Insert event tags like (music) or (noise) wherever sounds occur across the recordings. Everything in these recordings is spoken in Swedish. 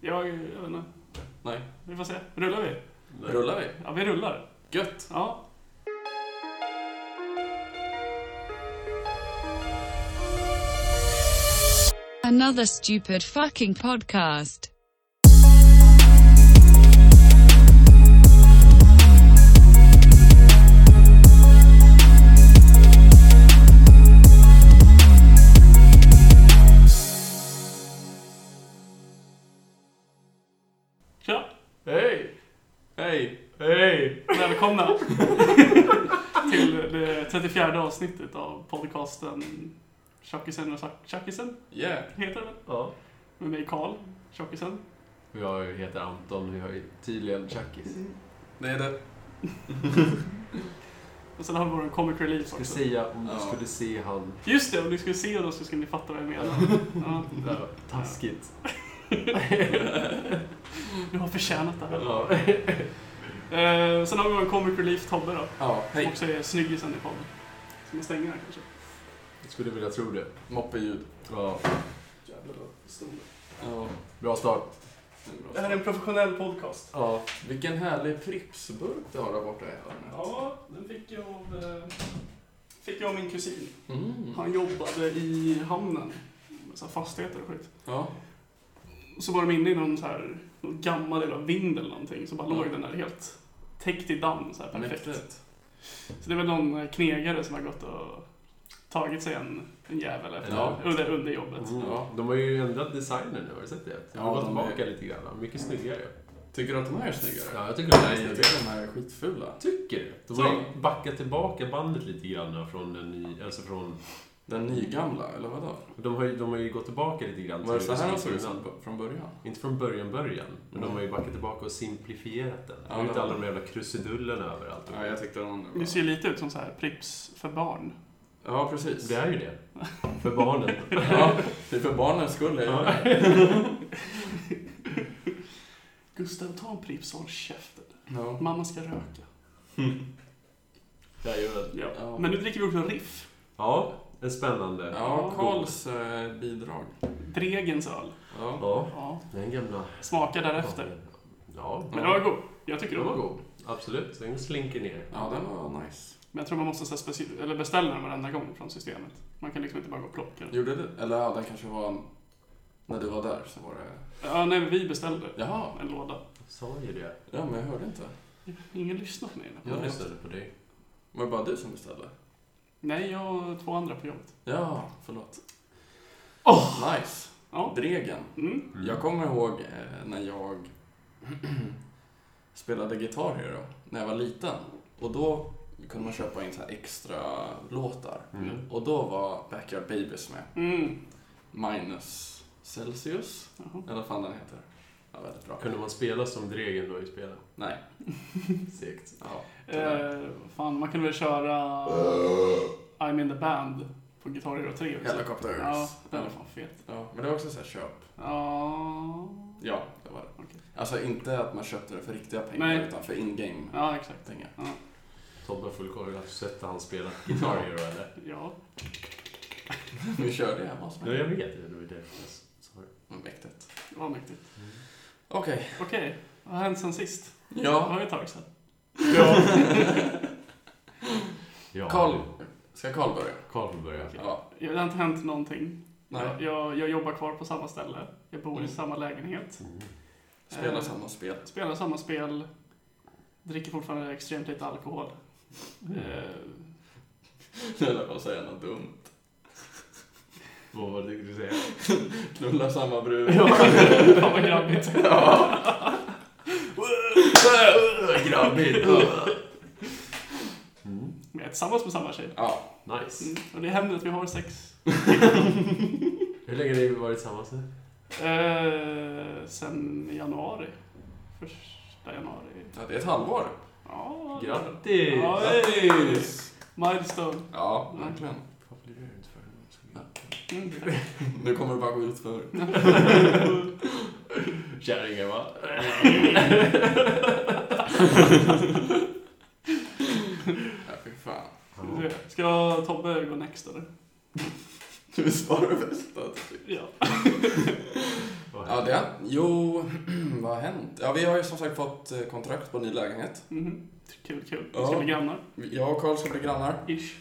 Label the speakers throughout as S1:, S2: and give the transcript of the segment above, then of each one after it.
S1: Jag, jag vet inte.
S2: Nej.
S1: Vi får se. Rullar vi?
S2: Rullar vi?
S1: Ja, vi rullar.
S2: Gött!
S1: Ja.
S3: Another stupid fucking podcast.
S1: Tja!
S2: Hej! Hej!
S1: Hej! Välkomna (laughs) till det 34 avsnittet av podcasten Tjockisen och Sack- Tjackisen,
S2: Yeah!
S1: heter den.
S4: Ja.
S1: Med mig Karl, Tjockisen.
S4: Jag heter Anton, jag är tydligen tjackis.
S2: Mm. Det är det.
S1: Och sen har vi vår comic
S4: Jag
S1: relief
S4: skulle
S1: också.
S4: säga om du
S2: Ja.
S4: skulle se han.
S1: Just det, om ni skulle se oss så skulle ni fatta vad jag menar. Ja.
S4: Det där var
S2: Mm.
S4: taskigt.
S1: Du har förtjänat det här.
S4: Ja.
S1: Eh, sen har vi vår comic relief Tobbe då,
S2: Ja,
S1: som
S2: hej!
S1: också är snyggisen i podden. Ska man stänga här kanske?
S4: Jag skulle vilja tro det.
S2: Moppeljud.
S4: Ja.
S1: Jävlar vad stor.
S2: Ja,
S4: Bra start.
S2: det är bra.
S1: Det här är en professionell podcast.
S4: Ja.
S2: Vilken härlig Pripsburk du har där borta i hörnet.
S1: Ja, den fick jag av, eh, fick jag av min kusin.
S2: Mm.
S1: Han jobbade i hamnen, med så här fastigheter och skit.
S2: Ja.
S1: Så var de inne i någon, så här, någon gammal jävla vind eller någonting, så bara
S2: Ja.
S1: låg den där helt täckt i damm, så här perfekt.
S2: Mäktigt.
S1: Så det är väl någon eh, knegare som har gått och tagit sig en, en jävel efter,
S2: Ja.
S1: under, under jobbet.
S4: Mm.
S2: Ja.
S4: De har ju ändrat designen nu, har du sett det? De
S2: Ja,
S4: har gått
S2: de är-
S4: tillbaka lite grann. Mycket snyggare.
S2: Tycker du att de här är snyggare?
S4: Ja, jag tycker de här är
S2: Nej, jag
S4: snyggare.
S2: tycker de här är skitfula.
S4: Tycker du? De har ju backat tillbaka bandet lite grann från den ny... Alltså från...
S2: Den nygamla, eller vadå?
S4: De har ju, de har ju gått tillbaka lite grann
S2: Var det så här de
S4: hur
S2: såg
S4: det
S2: ut
S4: såg ut innan.
S2: från- från början?
S4: Inte från början, början. Men de
S2: Mm.
S4: har ju backat tillbaka och simplifierat den.
S2: Ja,
S4: Ja,
S2: det
S4: inte
S2: har
S4: alla
S2: de.
S4: de jävla krusidullerna överallt.
S2: Ja, jag tyckte de
S1: Det ser ju lite ut som så här Pripps för (laughs) barn.
S2: Ja, precis.
S4: Det är ju det.
S2: (laughs)
S4: För barnen.
S2: Ja, det är för barnens skull jag gör det.
S1: Gustav, ta en Pripps och håll käften.
S2: Ja.
S1: Mamma ska röka.
S4: Det är ju det.
S1: Ja.
S2: Ja.
S1: Men nu dricker vi också Riff.
S4: Ja, en spännande.
S2: Ja, Karls eh, bidrag.
S1: Dregens öl.
S2: Ja.
S4: Ja,
S1: Ja.
S4: den gamla...
S1: Smaka därefter.
S4: Ja,
S1: Men den var god. Jag tycker
S4: den
S1: den
S4: var
S1: var god.
S4: god. Absolut. Den slinker ner.
S2: ja, den var nice.
S1: Men jag tror man måste så här speci- eller beställa den varenda gång från systemet. Man kan liksom inte bara gå och plocka den.
S2: Gjorde du? Eller ja, den kanske var... en- När du var där så var det...
S1: Ja, nej, vi beställde
S2: Jaha,
S1: en låda.
S4: Sa ju det.
S2: ja men jag hörde inte.
S1: Ingen lyssnar på mig. den här
S2: Ja.
S4: Jag
S1: podden.
S4: lyssnade på dig.
S2: Var det bara du som beställde?
S1: Nej, jag och två andra på jobbet.
S2: Ja, förlåt.
S1: Åh!
S2: Nice!
S1: Ja.
S2: Dregen.
S1: Mm.
S2: Jag kommer ihåg eh, när jag (clears throat) spelade Guitar Hero, när jag var liten. Och då kunde man köpa in så här extra låtar.
S4: Mm.
S2: Och då var Backyard Babies med.
S1: Mm.
S2: Minus Celsius,
S1: Jaha.
S2: eller vad fan den heter. Ja, väldigt bra.
S4: Kunde man spela som Dregen då i spelet?
S2: Nej.
S4: Segt.
S2: Ja, tyvärr.
S1: Eh, fan, man kunde väl köra Äh. I'm in the band på Guitar Hero 3 också.
S2: Helicopters.
S1: Ja, den
S2: ja.
S1: var fan fet.
S2: ja, men det var också så här köp.
S1: Ja,
S2: Ja, det var det.
S1: Okej.
S2: Alltså inte att man köpte det för riktiga pengar,
S1: Nej.
S2: utan för in-game
S1: ja exakt.
S2: pengar. (laughs)
S4: Tobbe har full koll. Har du sett han spela Guitar Hero eller?
S1: Ja.
S2: Vi körde det hemma hos
S4: Ja, jag
S2: mig.
S4: vet. Det var ju därför jag sa det.
S2: Mm, Mäktigt.
S1: Det var mäktigt.
S2: Okej.
S1: Okej, vad har hänt sen sist? Det
S2: Ja,
S1: var ju ett tag sedan.
S2: (laughs)
S4: Ja,
S2: Karl.
S4: du.
S2: Ska Karl börja?
S4: Karl får börja.
S2: Ja.
S1: Ja, Det har inte hänt någonting.
S2: Nej.
S1: Jag, jag, jag jobbar kvar på samma ställe. Jag bor i
S2: Mm.
S1: samma lägenhet.
S4: Mm.
S2: Spela
S1: Eh,
S2: samma spel. (laughs)
S1: Spelar samma spel. Dricker fortfarande extremt lite alkohol.
S2: Mm.
S1: Eh,
S2: Jag höll på att säga något dumt.
S4: Vad var det du skulle säga?
S2: Knulla samma brud.
S4: (laughs)
S1: Fan vad grabbigt.
S2: Ja. (laughs) Grabbigt.
S4: Mm.
S1: Men jag är tillsammans med samma tjej.
S2: Ja.
S4: Nice.
S1: Mm. Och det händer att vi har sex.
S4: Hur länge har ni varit tillsammans nu?
S1: Eh, sen i januari. Första januari.
S2: ja, det är ett halvår.
S1: Ja,
S4: Grattis!
S1: Ja, hej! Milestone.
S2: Ja, verkligen.
S1: Mm.
S2: Nu kommer det bara gå ut för.
S4: Kärringen va?
S2: Ja, fy fan.
S1: Ska Tobbe gå next eller?
S2: Du svarar bäst. alltså.
S1: Ja.
S4: Vad
S2: Ja, det har, jo, (clears throat) vad har hänt? Ja, vi har ju som sagt fått eh, kontrakt på en ny lägenhet.
S1: Mhm. Kul, kul. Vi
S2: Ja.
S1: ska bli grannar.
S2: Jag och Karl ska bli grannar.
S1: Ish.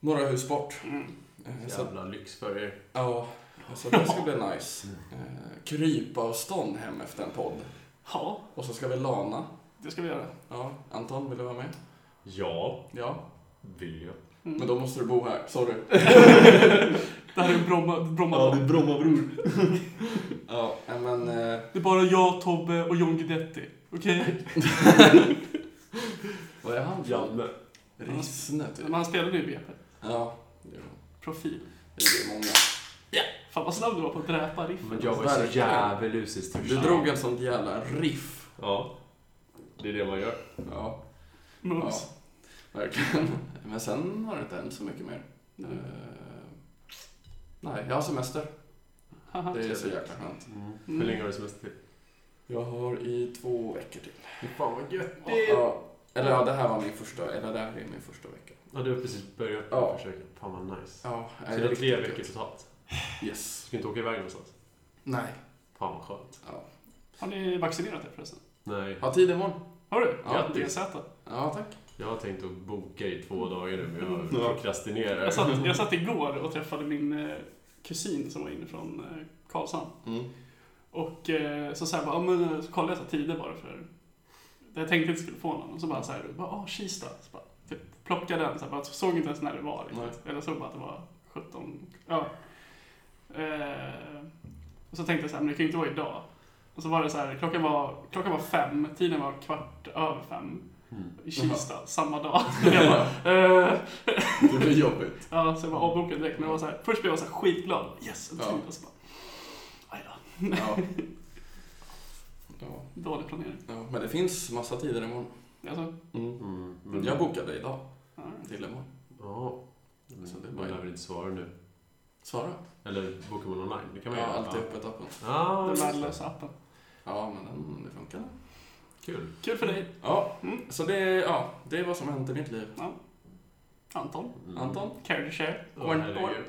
S2: Några hus bort.
S1: Mm.
S2: Eh, Så,
S4: Jävla lyx för er.
S2: ja, så det ska bli nice. Eh, Krypavstånd hem efter en podd.
S1: Ja,
S2: Och så ska vi lana.
S1: det ska vi göra. Mm.
S2: Ja, Anton, vill du vara med?
S4: Ja,
S2: Ja.
S4: vill jag.
S1: Mm.
S2: Men då måste du bo här. Sorry.
S1: Det här är Bromma. Bromma
S2: Brommabror. (laughs) ja, nej, men... eh,
S1: Det är bara jag, Tobbe och John Guidetti. Okej?
S2: Vad är han för?
S4: Janne.
S2: Rissne, typ.
S1: Men han spelade ju BP.
S2: Ja, det är
S1: Profil.
S2: det är många.
S1: Fan vad snabb du var på att dräpa riffen.
S4: Men jag var ju så
S2: Verkligen.
S4: djävulusiskt i
S2: Du drog en sånt jävla riff.
S4: Ja. Det är det man gör.
S2: Ja.
S1: Mums.
S2: Ja, verkligen. Men sen har det inte hänt så mycket mer.
S1: Nej.
S2: Eh, nej, jag har semester.
S1: Haha.
S2: Det är så jäkla skönt.
S4: Hur länge har du semester till?
S2: Jag har i två veckor till.
S4: Fan vad gött
S2: Ja, eller ja, det här var min första, eller det här är min första vecka.
S4: Ja, du har precis börjat
S2: Ja.
S4: försöka. Fan vad nice.
S2: Ja,
S4: Så det är tre veckor totalt? Du
S2: Yes.
S4: ska inte åka iväg någonstans?
S2: Nej.
S4: Fan vad skönt.
S2: Ja.
S1: Har ni vaccinerat er förresten?
S4: Nej,
S2: Ha tid imorgon.
S1: Har du?
S2: Ja,
S1: det är sätta.
S2: Ja, tack.
S4: jag har tänkt att boka i två dagar nu, men
S2: Ja.
S4: jag prokrastinerar.
S1: Mm. Jag satt, jag satt igår och träffade min eh, kusin som var inifrån eh, Karlshamn.
S2: Mm.
S1: Och eh, så, så, här, bara, ja, men, så kollade jag så här tider bara för jag tänkte inte skulle få någon. Och så bara så här, bara, ah, Kista. Så bara, typ, plockade den, så här, bara, såg inte ens när det var. Riktigt. Eller såg bara att det var 17. Ja. Eh, och så tänkte jag så här, men det kan ju inte vara idag. Och så var det så här, klockan var, klockan var fem, tiden var kvart över fem.
S4: Mm.
S1: I Kista, samma dag. (laughs) jag bara, eh,
S2: (laughs) Det blir jobbigt.
S1: Ja, så jag bara avbokade direkt. Men det var så här, först blev jag så här skitglad. Yes, en
S2: Ja.
S1: tid. Och så bara, aj då.
S2: Ja. Ja,
S1: Dålig planering.
S2: ja. Men det finns massa tider imorgon.
S1: Alltså,
S2: Mm.
S4: Mm, men-
S2: Jag bokade idag
S1: ja.
S2: till imorgon.
S4: Ja.
S2: Så det är
S4: Men
S2: bara-
S4: Man lär väl inte svara nu?
S2: Svara.
S4: Eller bokar man online? Det kan man
S2: Ja,
S4: göra.
S2: alltid öppet appen.
S4: Ja,
S1: Den
S4: just det.
S1: värdelösa appen.
S2: Ja, men den, det funkar.
S4: Kul.
S1: Kul för dig,
S2: Ja,
S1: Mm.
S2: så det, ja, det är vad som har hänt i mitt liv.
S1: Anton.
S4: Mm.
S2: Anton?
S1: Care to share.
S4: Ja,
S2: One
S4: herregud.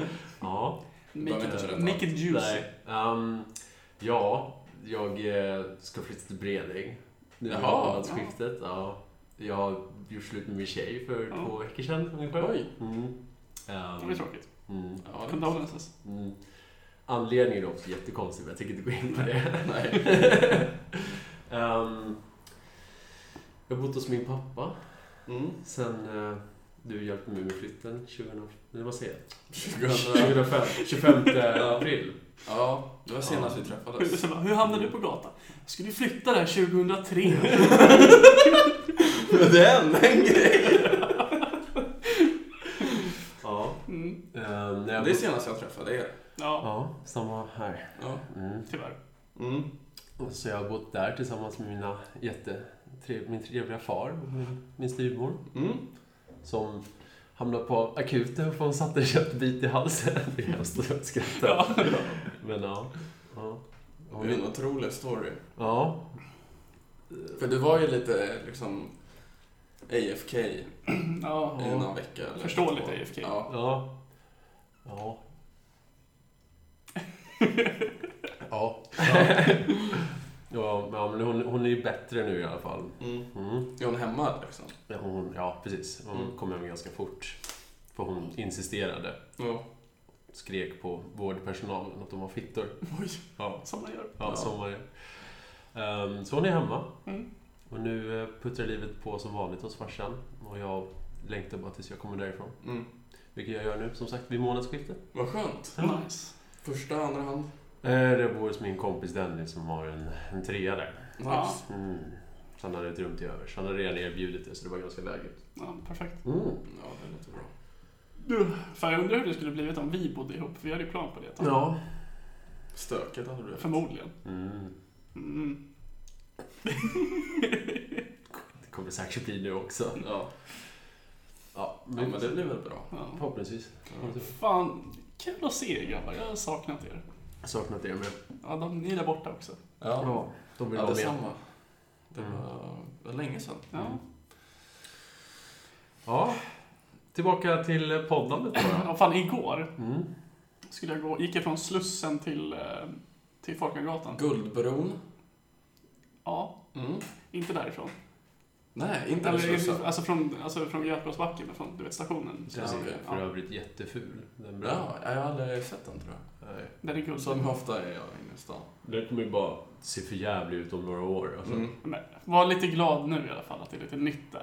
S4: (laughs) ja.
S1: Make
S2: inte
S1: it,
S2: berätta.
S1: make it juicy.
S4: Nej. Ehm, ja, jag eh, ska flytta till Bredäng. Nu
S2: Jaha.
S4: Jaha. skiftet. Ja. Jag har gjort slut med min tjej för
S1: Ja.
S4: två veckor sedan ungefär.
S2: Oj!
S4: Mm. Ehm,
S1: Det var ju tråkigt.
S4: mm,
S2: Ja, det,
S1: Condolences.
S4: mm. Anledningen är också jättekonstig, men jag tänker inte gå in på det.
S2: (laughs) nej.
S4: Ehm, jag har bott hos min pappa
S2: Mm.
S4: sen eh, du hjälpte mig med flytten 2000, eller vad säger jag?
S2: 2000.
S4: 2005, 25 april.
S2: Ja, det var senast vi träffades.
S1: Så bara, hur hamnade du på gatan? Jag skulle ju flytta där
S4: (laughs)
S1: 2003.
S2: det hände en grej!
S4: Ja.
S1: Mm.
S4: ehm, när jag
S2: Det är
S4: bodde-
S2: senast jag träffade er.
S1: Ja,
S4: Ja, samma här.
S2: Ja.
S4: Mm.
S1: tyvärr. (clears throat)
S2: Mm.
S4: Och Så jag har bott där tillsammans med mina jätte, tre, min trevliga far och min- min styvmor
S2: Mm.
S4: som hamnade på akuten för hon satte en köttbit i halsen. (laughs) Det är hemskt att skratta.
S1: Ja.
S4: Men ja. Ja.
S2: Det är en otrolig story.
S4: ja.
S2: För du var ju lite liksom AFK i
S1: Ja,
S2: någon vecka. Eller
S1: Förståeligt
S2: två.
S1: AFK.
S2: Ja.
S4: Ja. Ja. ja. ja. men hon, hon är ju bättre nu i alla fall.
S2: Mm.
S4: Mm.
S2: Är hon hemma liksom?
S4: Ja, Hon, ja, precis. Hon
S2: Mm.
S4: kom hem ganska fort. För hon insisterade.
S2: Ja.
S4: Skrek på vårdpersonalen att de var fittor.
S1: (laughs) Oj,
S4: Ja,
S1: som man gör.
S4: ja,
S2: Ja.
S4: som man gör. Ehm, så hon är hemma.
S1: Mm.
S4: Och nu eh, puttrar livet på som vanligt hos farsan. Och jag längtar bara tills jag kommer därifrån.
S2: Mm.
S4: Vilket jag gör nu, som sagt, vid månadsskiftet.
S2: Vad skönt.
S1: Nice.
S2: Första, andra hand.
S4: Eh, Jag bor hos min kompis Dennis som har en, en trea där.
S2: Nice.
S1: Ja.
S4: Mm. Så han hade ett rum till övers. Han hade redan erbjudit det så det var ganska lägligt.
S1: Ja, perfekt.
S4: Mm.
S2: Ja, det låter bra.
S1: Du, fan jag undrar hur det skulle blivit om vi bodde ihop, för vi hade ju plan på det ett tag.
S4: Ja.
S2: Stökigt hade du blivit.
S1: Förmodligen.
S4: Mm.
S1: Mm.
S4: Det kommer säkert bli nu också.
S2: Ja.
S4: Ja,
S2: ja, men det blir väl bra.
S1: Ja.
S4: Förhoppningsvis.
S2: Ja.
S1: Fan, kul att se er grabbar. Jag har saknat er.
S4: Jag saknat er med.
S1: Ja, de, ni är där borta också.
S2: Ja,
S4: De vill
S2: ja
S4: vara med.
S2: detsamma. Det
S4: Mm.
S2: var, det var länge sedan.
S1: Ja.
S4: Ja. Tillbaka till poddandet bara.
S1: Ja, fan, igår
S4: Mm.
S1: skulle jag gå, gick jag från Slussen till eh, till Folkungagatan.
S2: Guldbron.
S1: Ja,
S2: Mm.
S1: inte därifrån.
S2: Nej, inte
S1: Eller,
S2: alls.
S1: alltså från, alltså från Götblåsbacken, från du vet, stationen.
S4: Den
S1: Alltså,
S4: är för
S1: ja,
S4: övrigt jätteful. Den bra.
S2: Bra, jag har aldrig sett den tror jag.
S4: Nej.
S1: den är guld.
S2: Som ofta är jag inne i stan.
S4: Den kommer ju bara se för jävlig ut om några år. Alltså.
S2: Mm.
S1: Men, var lite glad nu i alla fall att det är lite nytt där.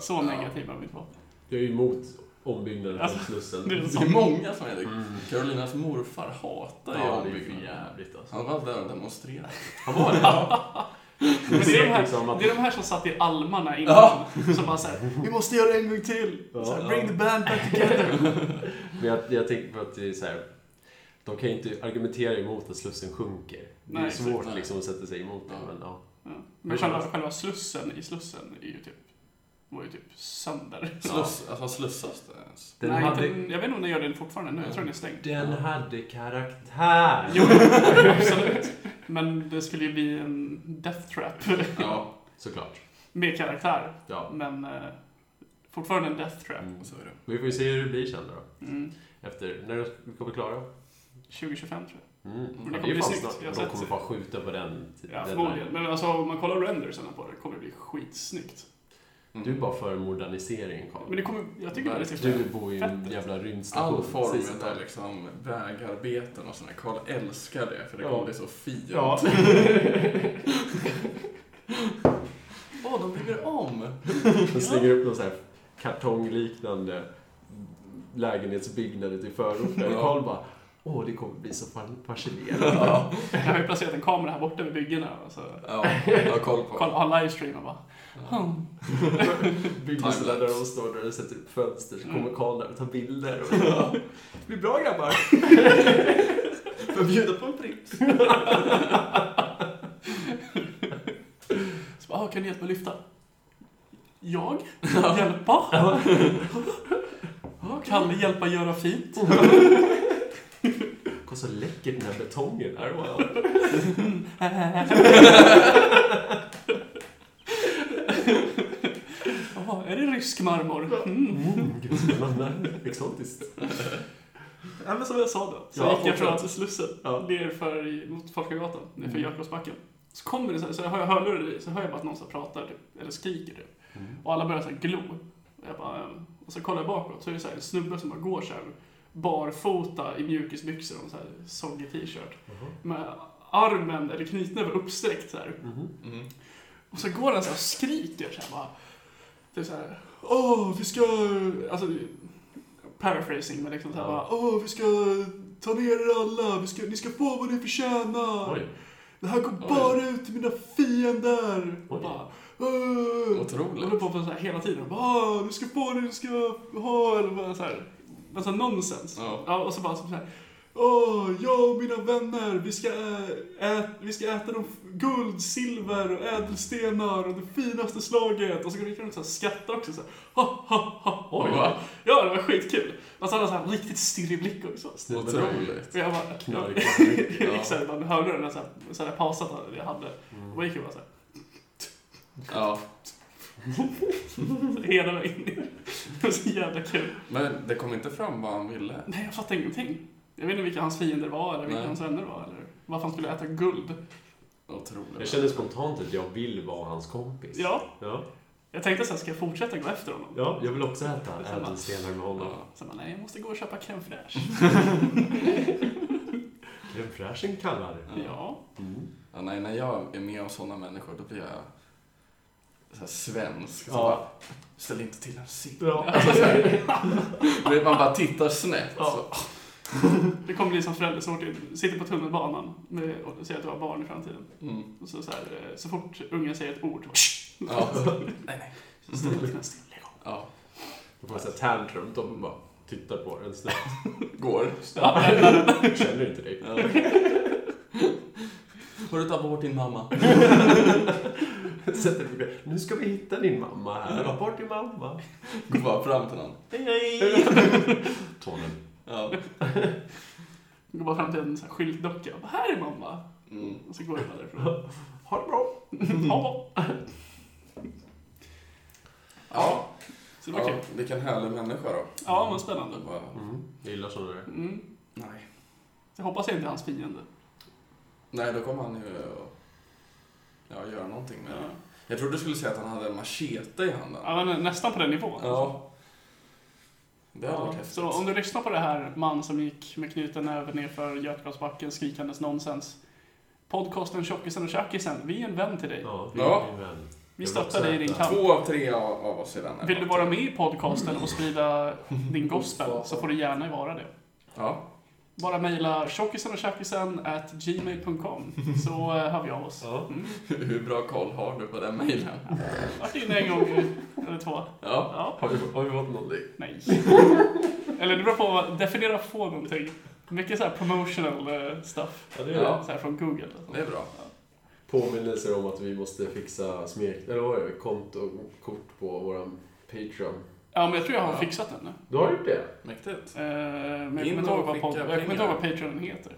S1: Så negativ har vi inte varit.
S4: Jag är ju emot ombyggnaden från
S1: Alltså,
S4: Slussen.
S1: det är
S2: Det är många som är det.
S4: Mm.
S2: Carolinas morfar hatar ju
S4: Ja, det är ju för
S2: ombyggnaden.
S4: jävligt alltså.
S2: Han var där och demonstrerade.
S4: Han var det?
S1: Men
S4: Du
S1: det, är de
S4: ser
S1: här,
S4: liksom att...
S1: det är de här som satt i almarna innan.
S2: Ja.
S1: Som bara såhär, vi måste göra det en gång till.
S4: Ja,
S1: så här,
S4: ja.
S1: Bring the band back together.
S4: (laughs) Men jag, jag tänker på att det är så här. De kan ju inte argumentera emot att Slussen sjunker. Det är
S1: Nej,
S4: svårt
S2: exakt.
S4: liksom att sätta sig emot det.
S2: Ja.
S4: Men, ja.
S1: Ja. Men själva, själva slussen i Slussen är ju typ, var ju typ sönder.
S2: Sluss, alltså, slussas det ens?
S4: Den,
S1: Nej,
S4: hade,
S1: inte, jag vet inte om den gör det fortfarande nu. Jag tror den är stängd.
S4: den hade karaktär. (laughs)
S1: Jo, absolut. Men det skulle ju bli en death trap
S4: Ja, såklart.
S1: med karaktär.
S4: Ja.
S1: Men eh, fortfarande en death trap.
S4: Mm.
S2: Så är det.
S4: Vi får ju se hur det blir sen då.
S1: Mm.
S4: Efter, när vi kommer klara.
S1: 2025 tror jag.
S4: Mm.
S1: kommer
S4: Ja,
S1: bli
S4: fan
S1: snyggt.
S4: snart.
S1: Jag har
S4: De
S1: sett-
S4: kommer bara skjuta på den.
S1: Ja,
S4: deadline.
S1: förmodligen. Men alltså om man kollar rendersen på det kommer det bli skitsnyggt.
S2: Mm.
S4: Du är bara för modernisering, Carl.
S1: Men det kommer, jag tycker det ser
S4: Du bor ju i en jävla rymdstation.
S2: All
S4: Precis.
S2: form av liksom vägarbeten och sådär. Karl älskar det för det
S4: Ja.
S2: kommer bli så fint.
S4: Ja.
S2: Åh, de bygger om!
S4: (laughs) De slänger upp någon sån här kartongliknande lägenhetsbyggnad ute i förorten.
S2: Ja.
S4: Och Carl bara Åh, det kommer bli så fan- fascinerande.
S2: Ja,
S1: Jag har ju placerat en kamera här borta vid byggena. Alltså,
S2: ja jag har koll på
S1: kolla,
S2: det.
S1: ha livestream och bara hmm.
S4: (laughs) Byggnadsställare där de står där och sätter upp fönster så kommer Carl där och tar bilder. Och bara, blir bra grabbar!
S2: Får bjuda på en Pripps.
S1: (laughs) Så bara, ah, kan ni hjälpa mig lyfta? Jag? Hjälpa? Ah, Kan ni hjälpa göra
S4: (laughs)
S1: fint?
S4: Kolla så läcker den här betongen är. Wow.
S1: Jaha, är det rysk marmor? Mm.
S4: Mm, gud, spännande. Exotiskt.
S1: Ja, men som jag sa då, så
S4: Ja,
S1: gick jag
S4: fortsätt.
S1: från Slussen
S4: Ja.
S1: ner för, i- mot Folkagatan, ner för Jakobsbacken. Så kommer det så, här, så jag hör hörlurar i, så hör jag bara att någon så här pratar, typ, eller skriker typ. Och alla börjar så här glo. Och, jag bara, ehm. och så kollar jag bakåt, så är det så här en snubbe som bara går så här barfota i mjukisbyxor och en så här soggig t-shirt. Med armen, eller knytnäven uppsträckt så här.
S2: Mm.
S1: Och så går han så här och skriker så här bara. Typ så här. Åh, vi ska... Alltså, paraphrasing, men liksom så här
S4: Ja.
S1: bara. Åh, vi ska ta ner er alla. Vi ska, ni ska få vad ni förtjänar.
S4: Oj.
S1: Det här går bara ut till mina fiender. Och
S4: Oj.
S1: bara. "Åh."
S2: Otroligt.
S1: Och håller på så här hela tiden. Bara, "Åh, du ska få det du ska ha. Eller bara så här. Massa nonsens.
S2: Ja.
S1: och så bara så här. Åh, jag och mina vänner, vi ska, ä- ä- vi ska äta de f- guld, silver och ädelstenar och det finaste slaget. Och så gick de runt och skrattade också. Så här, ha, ha, ha.
S4: Oj.
S1: va? Ja, det var skitkul. Och så hade han så här riktigt stirrig blick också.
S2: Otroligt.
S1: Och jag bara... (laughs)
S4: Knark.
S1: Jag gick såhär, man hörde den där, så här- så här pausen jag hade. Och man gick ju bara såhär,
S2: Ja.
S1: (laughs) hela vägen in. Det var så jävla kul.
S2: Men det kom inte fram vad han ville.
S1: Nej, jag fattade ingenting. Jag vet inte vilka hans fiender var, eller vilka
S2: Nej.
S1: hans vänner var, eller varför han skulle äta guld.
S4: Jag
S2: Otroligt.
S4: känner spontant att jag vill vara hans kompis.
S1: Ja,
S4: Ja,
S1: jag tänkte såhär, ska jag fortsätta gå efter honom?
S4: ja jag vill också äta ädelstenar med honom.
S2: Ja.
S1: Sen bara, nej, jag måste gå och köpa crème fraîche.
S4: Crème fraîchen kallar.
S1: Ja.
S4: Mm.
S2: Ja, nej, när jag är med om sådana människor då blir jag så här svensk. Så
S4: Ja.
S2: bara, Ställ inte till en sill.
S4: Ja.
S2: Alltså, så här. (laughs) Du vet, man bara tittar snett.
S4: Ja.
S2: Så,
S1: Det kommer bli som förälder så fort du sitter på tunnelbanan med, och säger att du har barn i framtiden.
S2: mm.
S1: Och så, så, här, eh, så fort ungen säger ett ord, så bara,
S2: ja. Nej, nej.
S1: så ställer du dig still. Lägg av.
S2: Ja.
S4: Jag får en sån här tantrum. De bara tittar på den snabbt.
S2: Går.
S4: Känner inte dig.
S2: Ja. Får du ta bort din mamma?
S4: (laughs) Sätter dig på- Nu ska vi hitta din mamma här. Var bort din mamma?
S2: Gå bara fram till någon.
S4: Tonen.
S2: Ja.
S1: Går bara fram till en så här skyltdocka och bara, här är mamma.
S2: Mm.
S1: Och så går jag
S2: (laughs)
S1: bara därifrån.
S4: Ha det bra.
S1: Ja.
S2: Ja.
S1: Så det var
S2: ja,
S1: kul.
S2: vilken härlig människa då.
S1: Ja, men spännande.
S2: Det var...
S4: Mm. Jag gillar sådana där.
S1: Mm.
S2: Nej.
S1: Jag hoppas jag inte är hans fiende.
S2: Nej, då kommer han ju och, ja, göra någonting med
S1: Ja.
S2: det. Jag trodde du skulle säga att han hade en machete i handen.
S1: Ja, men nästan på den nivån.
S2: Ja. Det hade varit
S1: Ja,
S2: häftigt.
S1: så om du lyssnar på det här, man som gick med knuten över nerför Götgatsbacken skrikandes nonsens. Podcasten Tjockisen och Tjackisen, vi är en vän till dig.
S4: Ja, vi
S2: Ja.
S4: är min vän.
S1: Vi
S4: Jag
S1: stöttar
S4: vill
S1: dig i din
S4: också äta.
S1: kamp.
S2: Två av tre av, av oss i den här
S1: Vill du
S2: podden.
S1: vara med i podcasten
S2: (laughs)
S1: och sprida din gospel så får du gärna vara det.
S2: Ja. (laughs)
S1: Bara mejla tjockisen och tjackisen at gmail.com så eh, hör vi av oss.
S4: Ja.
S1: Mm.
S2: Hur bra koll har du på den mejlen?
S1: Vart inne en gång eller två.
S2: Ja.
S1: Ja,
S4: Har vi, har vi fått någonting?
S1: nej. Eller det beror på, definiera få någonting. Mycket så här promotional eh, stuff.
S4: Ja, det är
S2: Ja.
S1: Så här från Google.
S2: Det är bra.
S4: Påminnelser om att vi måste fixa smek... Eller vad är det? Kontokort på våran Patreon.
S1: Ja, men jag tror jag har
S2: Ja.
S1: fixat den nu.
S4: Du har gjort det?
S2: Mäktigt.
S1: Eh, Men jag
S2: In
S1: kommer inte
S2: och
S1: ihåg vad
S2: skicka
S1: pod- jag kommer inte
S2: pengar.
S1: ihåg vad Patreon heter.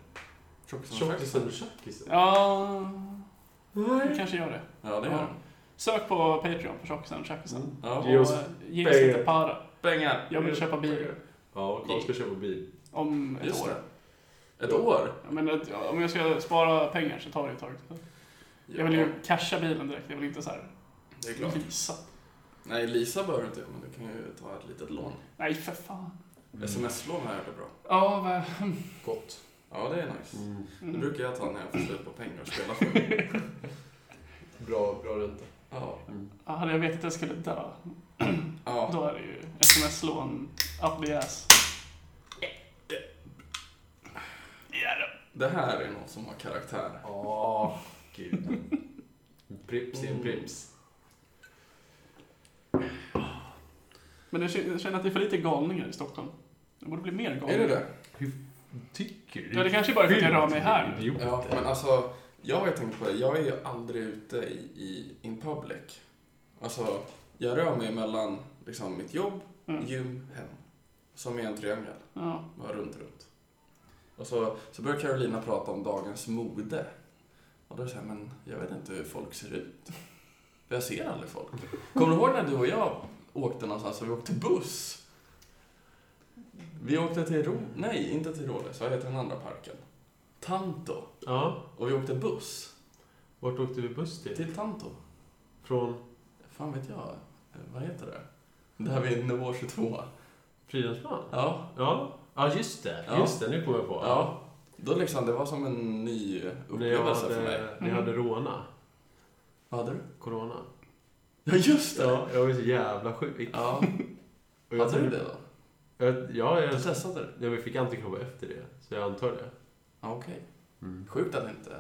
S2: Tjockisen och
S4: Tjockisen
S2: tjackisen.
S4: och tjackisen.
S1: Ja, vi
S4: Nej.
S1: kanske gör det.
S2: Ja, det gör Mm.
S1: Ja.
S2: den.
S1: Sök på Patreon på Tjockisen och Tjackisen.
S2: Ja.
S4: Ge oss
S1: Och, eh, Ge oss lite
S4: pengar.
S1: para.
S2: Pengar.
S1: Jag vill köpa bil
S4: Ja, och Karl ska köpa bil.
S1: om ett
S2: Just
S1: år.
S2: det. Ett år?
S1: Ja, Men att- ja, om jag ska spara pengar så tar det ett tag. Jag vill
S2: Ja,
S1: ju casha bilen direkt, jag vill inte så här
S2: Det är klart.
S1: leasa.
S2: Nej, Lisa behöver du inte göra, men du kan ju ta ett litet lån.
S1: Nej, för fan.
S2: Mm. Sms-lån här är det bra.
S1: Ja, vad...
S4: Gott.
S2: Ja, det är nice.
S4: Mm.
S2: Det
S1: Mm.
S2: brukar jag ta när jag får slut på pengar och spela för.
S4: Bra, bra ränta. Mm.
S2: Ja.
S1: Ja, Hade jag vetat att jag skulle dö,
S2: ja.
S1: då är det ju sms-lån up the ass. Ja, då.
S2: Det här är någon som har karaktär.
S4: Ja, gud. Prips är en prips.
S1: Men jag känner jag känner att det är för lite galningar i Stockholm. Det borde bli mer galningar.
S2: Är det det?
S4: Tycker du?
S1: Ja, det kanske är bara för att jag rör mig här.
S2: Ja, men alltså, jag har ju tänkt på det. Jag är ju aldrig ute i, i in public. Alltså, jag rör mig mellan liksom, mitt jobb,
S1: Mm.
S2: gym, hem. Som är en triangel.
S1: Ja.
S2: Bara runt, runt. Och så, så börjar Carolina prata om dagens mode. Och då säger jag, men jag vet inte hur folk ser ut. För jag ser aldrig folk. Kommer du ihåg när du och jag åkte någonstans och vi åkte buss? Vi åkte till Ro... Nej, inte till Råles. Vad heter den andra parken? Tanto.
S4: Ja,
S2: Och vi åkte buss
S4: vart åkte vi buss till?
S2: till Tanto.
S4: Från
S2: Fan vet jag. Eh, Vad heter det? Där vid nivå 22.
S4: Fridhemsplan?
S2: Ja.
S4: Ja. Ja, just det.
S2: Ja.
S4: Just det, nu kommer jag på.
S2: Ja. Då liksom, det var som en ny
S4: När jag
S2: upplevelse för mig.
S4: hade, när jag hade
S1: Mm.
S4: råna.
S2: Vad hade du?
S4: Corona.
S2: Ja, just det!
S4: Ja, jag var så jävla sjuk.
S2: Ja.
S4: Och jag
S2: Hade du
S4: tror-
S2: det då?
S4: Jag, ja, jag,
S2: Du testade det?
S4: jag fick antikroppar efter det. Så jag antar det.
S2: Ja, okej. Sjukt att inte eh,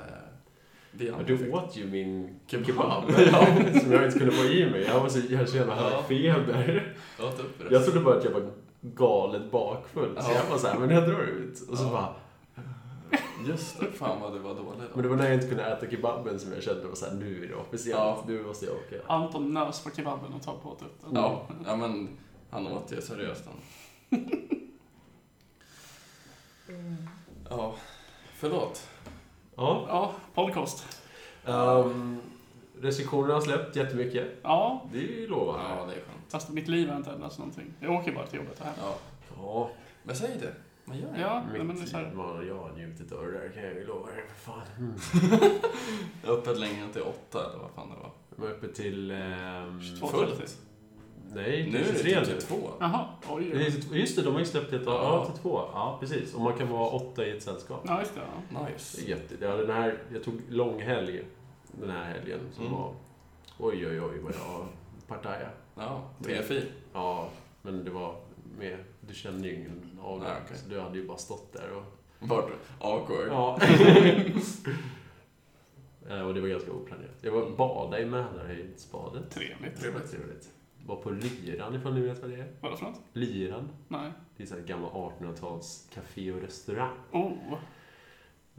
S2: vi
S4: Ja,
S2: andra
S4: du
S2: Mm. fick-
S4: åt ju min
S2: Kebab.
S4: kebab.
S2: (laughs)
S4: som jag inte kunde få i mig. Jag var så, jag hade så jävla
S2: Ja.
S4: hög feber.
S2: Jag åt upp det.
S4: Jag trodde bara att jag var galet bakfull. Så
S2: Ja.
S4: jag var såhär, men jag drar ut. Och så
S2: Ja.
S4: bara,
S2: Just det, fan vad du var dålig då.
S4: men det var när jag inte kunde äta kebaben som jag kände var såhär, nu är det officiellt.
S2: Ja.
S4: Nu måste jag åka.
S1: Anton nös på kebaben och tar på typ den.
S2: Ja, ja, men han åt det seriöst han. Ja, förlåt.
S4: Ja.
S1: Ja, podcast.
S4: Um, restriktionerna har släppt jättemycket.
S1: Ja,
S4: Det är ju
S2: Ja,
S4: lovande.
S2: det är skönt.
S1: fast mitt liv har inte ändrats någonting. Jag åker bara till jobbet och hem.
S2: Ja.
S4: Ja,
S2: Men säg det. Man gör det.
S1: Ja, nej, men det är
S4: mitt
S1: så här.
S4: liv har jag njutit av det där kan jag ju lova dig. för Fan. Mm.
S2: Jag är Öppet längre än till åtta eller vad fan det var.
S4: De är uppe till... ehm,
S1: 22.
S2: Fullt.
S4: Nej,
S2: Nu är det typ
S4: till 23
S2: till
S4: nu.
S2: 22.
S1: Jaha, oj.
S4: Det är
S1: oj.
S4: till- Just det, de har ju släppt ett
S2: Ja.
S4: ja. till två. Ja, precis. Och man kan vara åtta i ett sällskap.
S1: Ja, just det. Ja.
S4: Det är
S2: Nice.
S4: gött. Ja, den här, jag tog långhelg den här helgen som
S2: Mm.
S4: var... Oj, oj, oj vad jag partajade.
S2: Ja, TFI.
S4: Ja, men det var med... Du kände ju ingen av det.
S2: Nej, okej.
S4: Så du hade ju bara stått där och...
S2: Vart? Awkward.
S4: Ja. (laughs) Eh, och det var ganska oplanerat. Jag var bada i Mälarhöjdsbadet.
S1: Trevligt.
S2: Trevligt.
S4: Trevligt. Var på Lyran ifall ni vet vad det är.
S1: Vadå för något?
S4: Lyran.
S1: Nej.
S4: Det är så här gammal 1800-tals café och restaurang.
S1: Oh,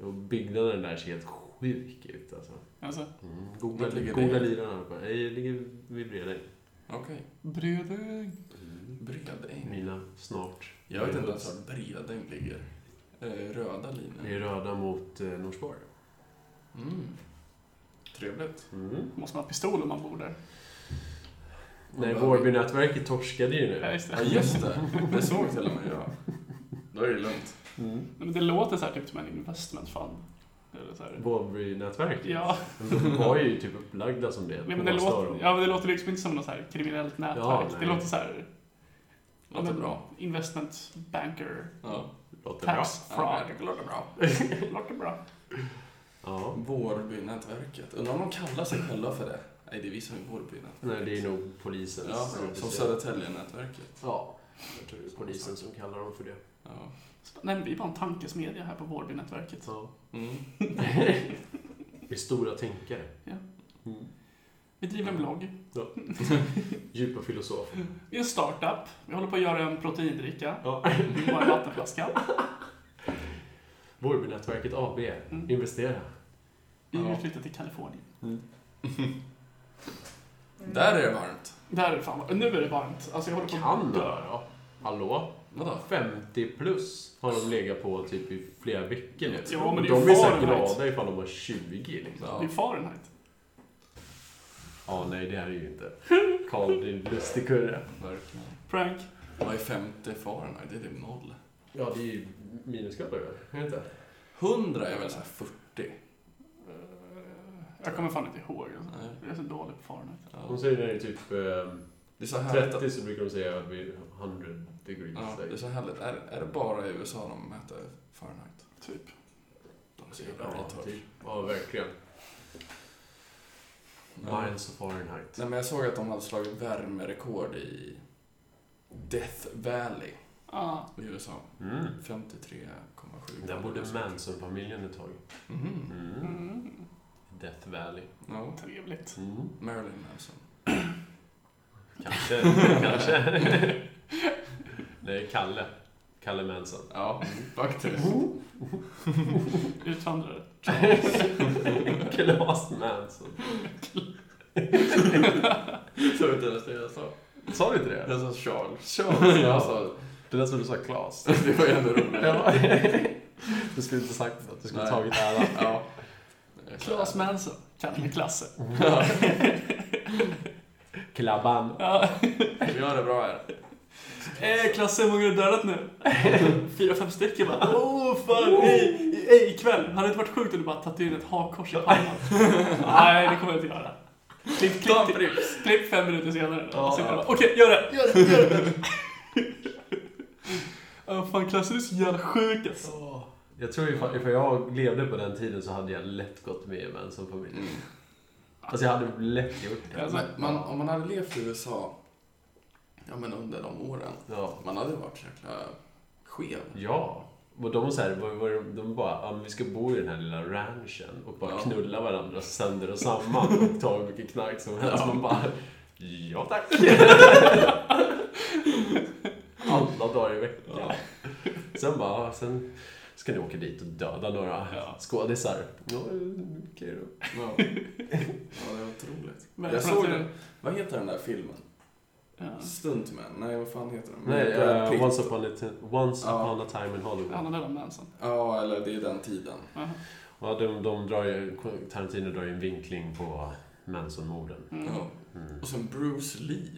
S4: Och byggnaden där ser helt sjuk ut alltså.
S1: alltså.
S4: Mm.
S2: Vart ligger
S4: Goda,
S2: det?
S4: goda liran här uppe. Nej, jag ligger vid Bredäng.
S2: Okej.
S1: Bredäng.
S2: Bredäng.
S4: Mina snart.
S2: Mm. Jag vet inte ens var Bredäng ligger. Eh, Röda
S4: Det är
S2: linjen.
S4: röda mot eh, Norsborg.
S2: Mm. Trevligt.
S4: Mm.
S1: Måste man ha pistol om man bor där?
S4: Nej, Vårbynätverket torskade ju nu.
S1: Ja, just
S2: Ja,
S1: det.
S2: just det. Det såg till och med jag. Då är det lugnt.
S4: Mm.
S1: Nej, men det låter så här typ som en investment fund. Eller Så här.
S4: Bålby-nätverket.
S1: Ja,
S4: De var ju typ upplagda som det.
S1: men det,
S4: påstår
S1: låter,
S4: de.
S1: ja, men det låter liksom inte som något så här kriminellt nätverk.
S4: Ja, nej.
S1: det låter så här, ja,
S2: Låter
S1: men
S2: bra.
S1: investment banker,
S2: Ja.
S4: låter bra.
S1: tax
S2: Ja,
S1: fraud.
S2: det låter bra.
S1: (laughs) låter bra.
S4: Ja.
S2: Vårbynätverket. Undrar om de kallar sig själva för det? Nej, det är vi som är Vårbynätverket.
S4: Nej, det är nog polisen.
S2: Ja, som Södertäljenätverket.
S4: Ja, jag tror det är polisen som kallar dem för det.
S2: Ja.
S1: Nej, men vi är bara en tankesmedja här på Vårbynätverket.
S4: Ja. (laughs)
S2: Mm.
S4: Vi är stora tänkare.
S1: Ja.
S4: Mm.
S1: Vi driver en blogg.
S4: Djupa filosofer.
S1: Vi är en startup. Vi håller på att göra en proteindricka.
S4: Ja. (laughs)
S1: Vi har en vattenflaska.
S4: Vårbynätverket AB. Investera.
S1: Mm. Vi vill
S2: Ja.
S1: flytta till Kalifornien.
S2: Där är det varmt.
S1: Där är det fan var- Nu är det varmt. Alltså jag håller på att dö.
S4: Kanada då? Hallå?
S2: Vadå?
S4: 50 plus har de legat på typ i flera veckor nu.
S1: Ja, men det är
S4: de
S1: ju
S4: är så
S1: Fahrenheit.
S4: glada ifall de har 20 liksom.
S1: Det
S2: Ja.
S1: är Fahrenheit.
S4: Ja, nej det här är ju inte. Karl, din lustigkurre.
S2: Verkligen.
S1: Prank.
S2: Vad är 50 Fahrenheit? Det är typ noll.
S4: Ja, det är ju minusgrader väl? Är det inte?
S2: 100 är väl såhär 40?
S1: Eh, Jag kommer fan inte ihåg. Alltså.
S2: Nej.
S1: Jag är så dålig på Fahrenheit.
S4: De
S2: Ja.
S4: säger när det är typ eh,
S2: Det är så härligt.
S4: 30
S2: Att,
S4: så brukar de säga att vi är 100 degrees.
S2: ja, det är så härligt. Är, är det bara i USA de mäter Fahrenheit?
S1: Typ.
S2: De är så jävla
S4: Ja,
S2: retard.
S4: typ. ja, verkligen.
S2: Ja.
S4: Miles of Fahrenheit.
S2: Nej men jag såg att de hade slagit värmerekord i Death Valley
S1: Ah,
S2: i USA.
S4: Mm.
S2: 53,7.
S4: Där bodde Manson-familjen ett tag.
S2: Mhm.
S4: Mm.
S1: mm.
S4: Death Valley.
S2: Ja.
S1: Trevligt.
S4: Mm.
S2: Marilyn Manson.
S4: (laughs) Kanske, kanske. Nej, Kalle. Kalle Manson.
S2: Ja, faktiskt. (laughs) Mm.
S1: Utvandrare.
S4: Klas Manson.
S2: Såg inte ens det jag sa.
S4: Sa du inte det?
S2: Jag sa Charles. Charles. Jag sa,
S4: Det lät som du sa Klas.
S2: det var ju ändå (laughs) roligt.
S4: Ja. (laughs) Du skulle inte sagt att du skulle
S2: Nej.
S4: tagit äran.
S2: Ja.
S1: Claes Manson. Kallar mig Klasse.
S4: Klabban.
S1: Ja.
S2: Vi har det bra här.
S1: Eh, Klasse, hur många har du dödat nu?
S2: (laughs)
S1: Fyra, fem stycken bara. Åh, oh, fan. Hej, hej, ikväll. Hade det inte varit sjukt om du bara tatuerat ett hakkors i
S2: (laughs)
S1: pannan? Nej, det kommer jag inte göra. Klipp,
S2: Ta en
S1: klipp, klipp fem minuter senare.
S4: Ja.
S1: Ja, bara, Okej, gör det. Gör det, gör det. (laughs) Ja, fan, Klasse, du är så jävla sjuk alltså.
S4: Jag tror ifall, ifall jag levde på den tiden så hade jag lätt gått med i Manson-familjen.
S2: Mm.
S4: Alltså jag hade lätt gjort det.
S1: Alltså,
S2: Men man, om man hade levt i USA ja, men under de åren,
S4: Ja.
S2: man hade varit så jäkla skev.
S4: Ja. Och de, så här, var, var, de bara, ja, men vi ska bo i den här lilla ranchen och bara
S2: Ja.
S4: knulla varandra sönder och samman (laughs) och ta hur mycket knark som helst. Man bara, ja tack! (laughs) Alla dagar i veckan. Sen bara, ja, sen ska ni åka dit och döda några
S1: Ja.
S4: skådisar. Ja, okej då.
S2: (laughs) Ja. ja, det var otroligt.
S1: Men
S2: jag
S1: för
S2: såg
S1: att-
S2: den, vad heter den där filmen?
S1: Ja.
S2: Stuntman? Nej, vad fan heter den?
S4: Nej,
S2: Brad Pitt.
S4: eh, once upon, a, ti- once
S2: Ja.
S4: upon a time in Hollywood.
S1: Han har dödat Manson.
S2: Ja, eller det är den tiden.
S1: Jaha.
S4: Ja, de, de drar ju, Tarantino drar ju en vinkling på Manson-morden.
S1: Mm.
S2: Ja.
S4: Mm.
S2: Och sen Bruce Lee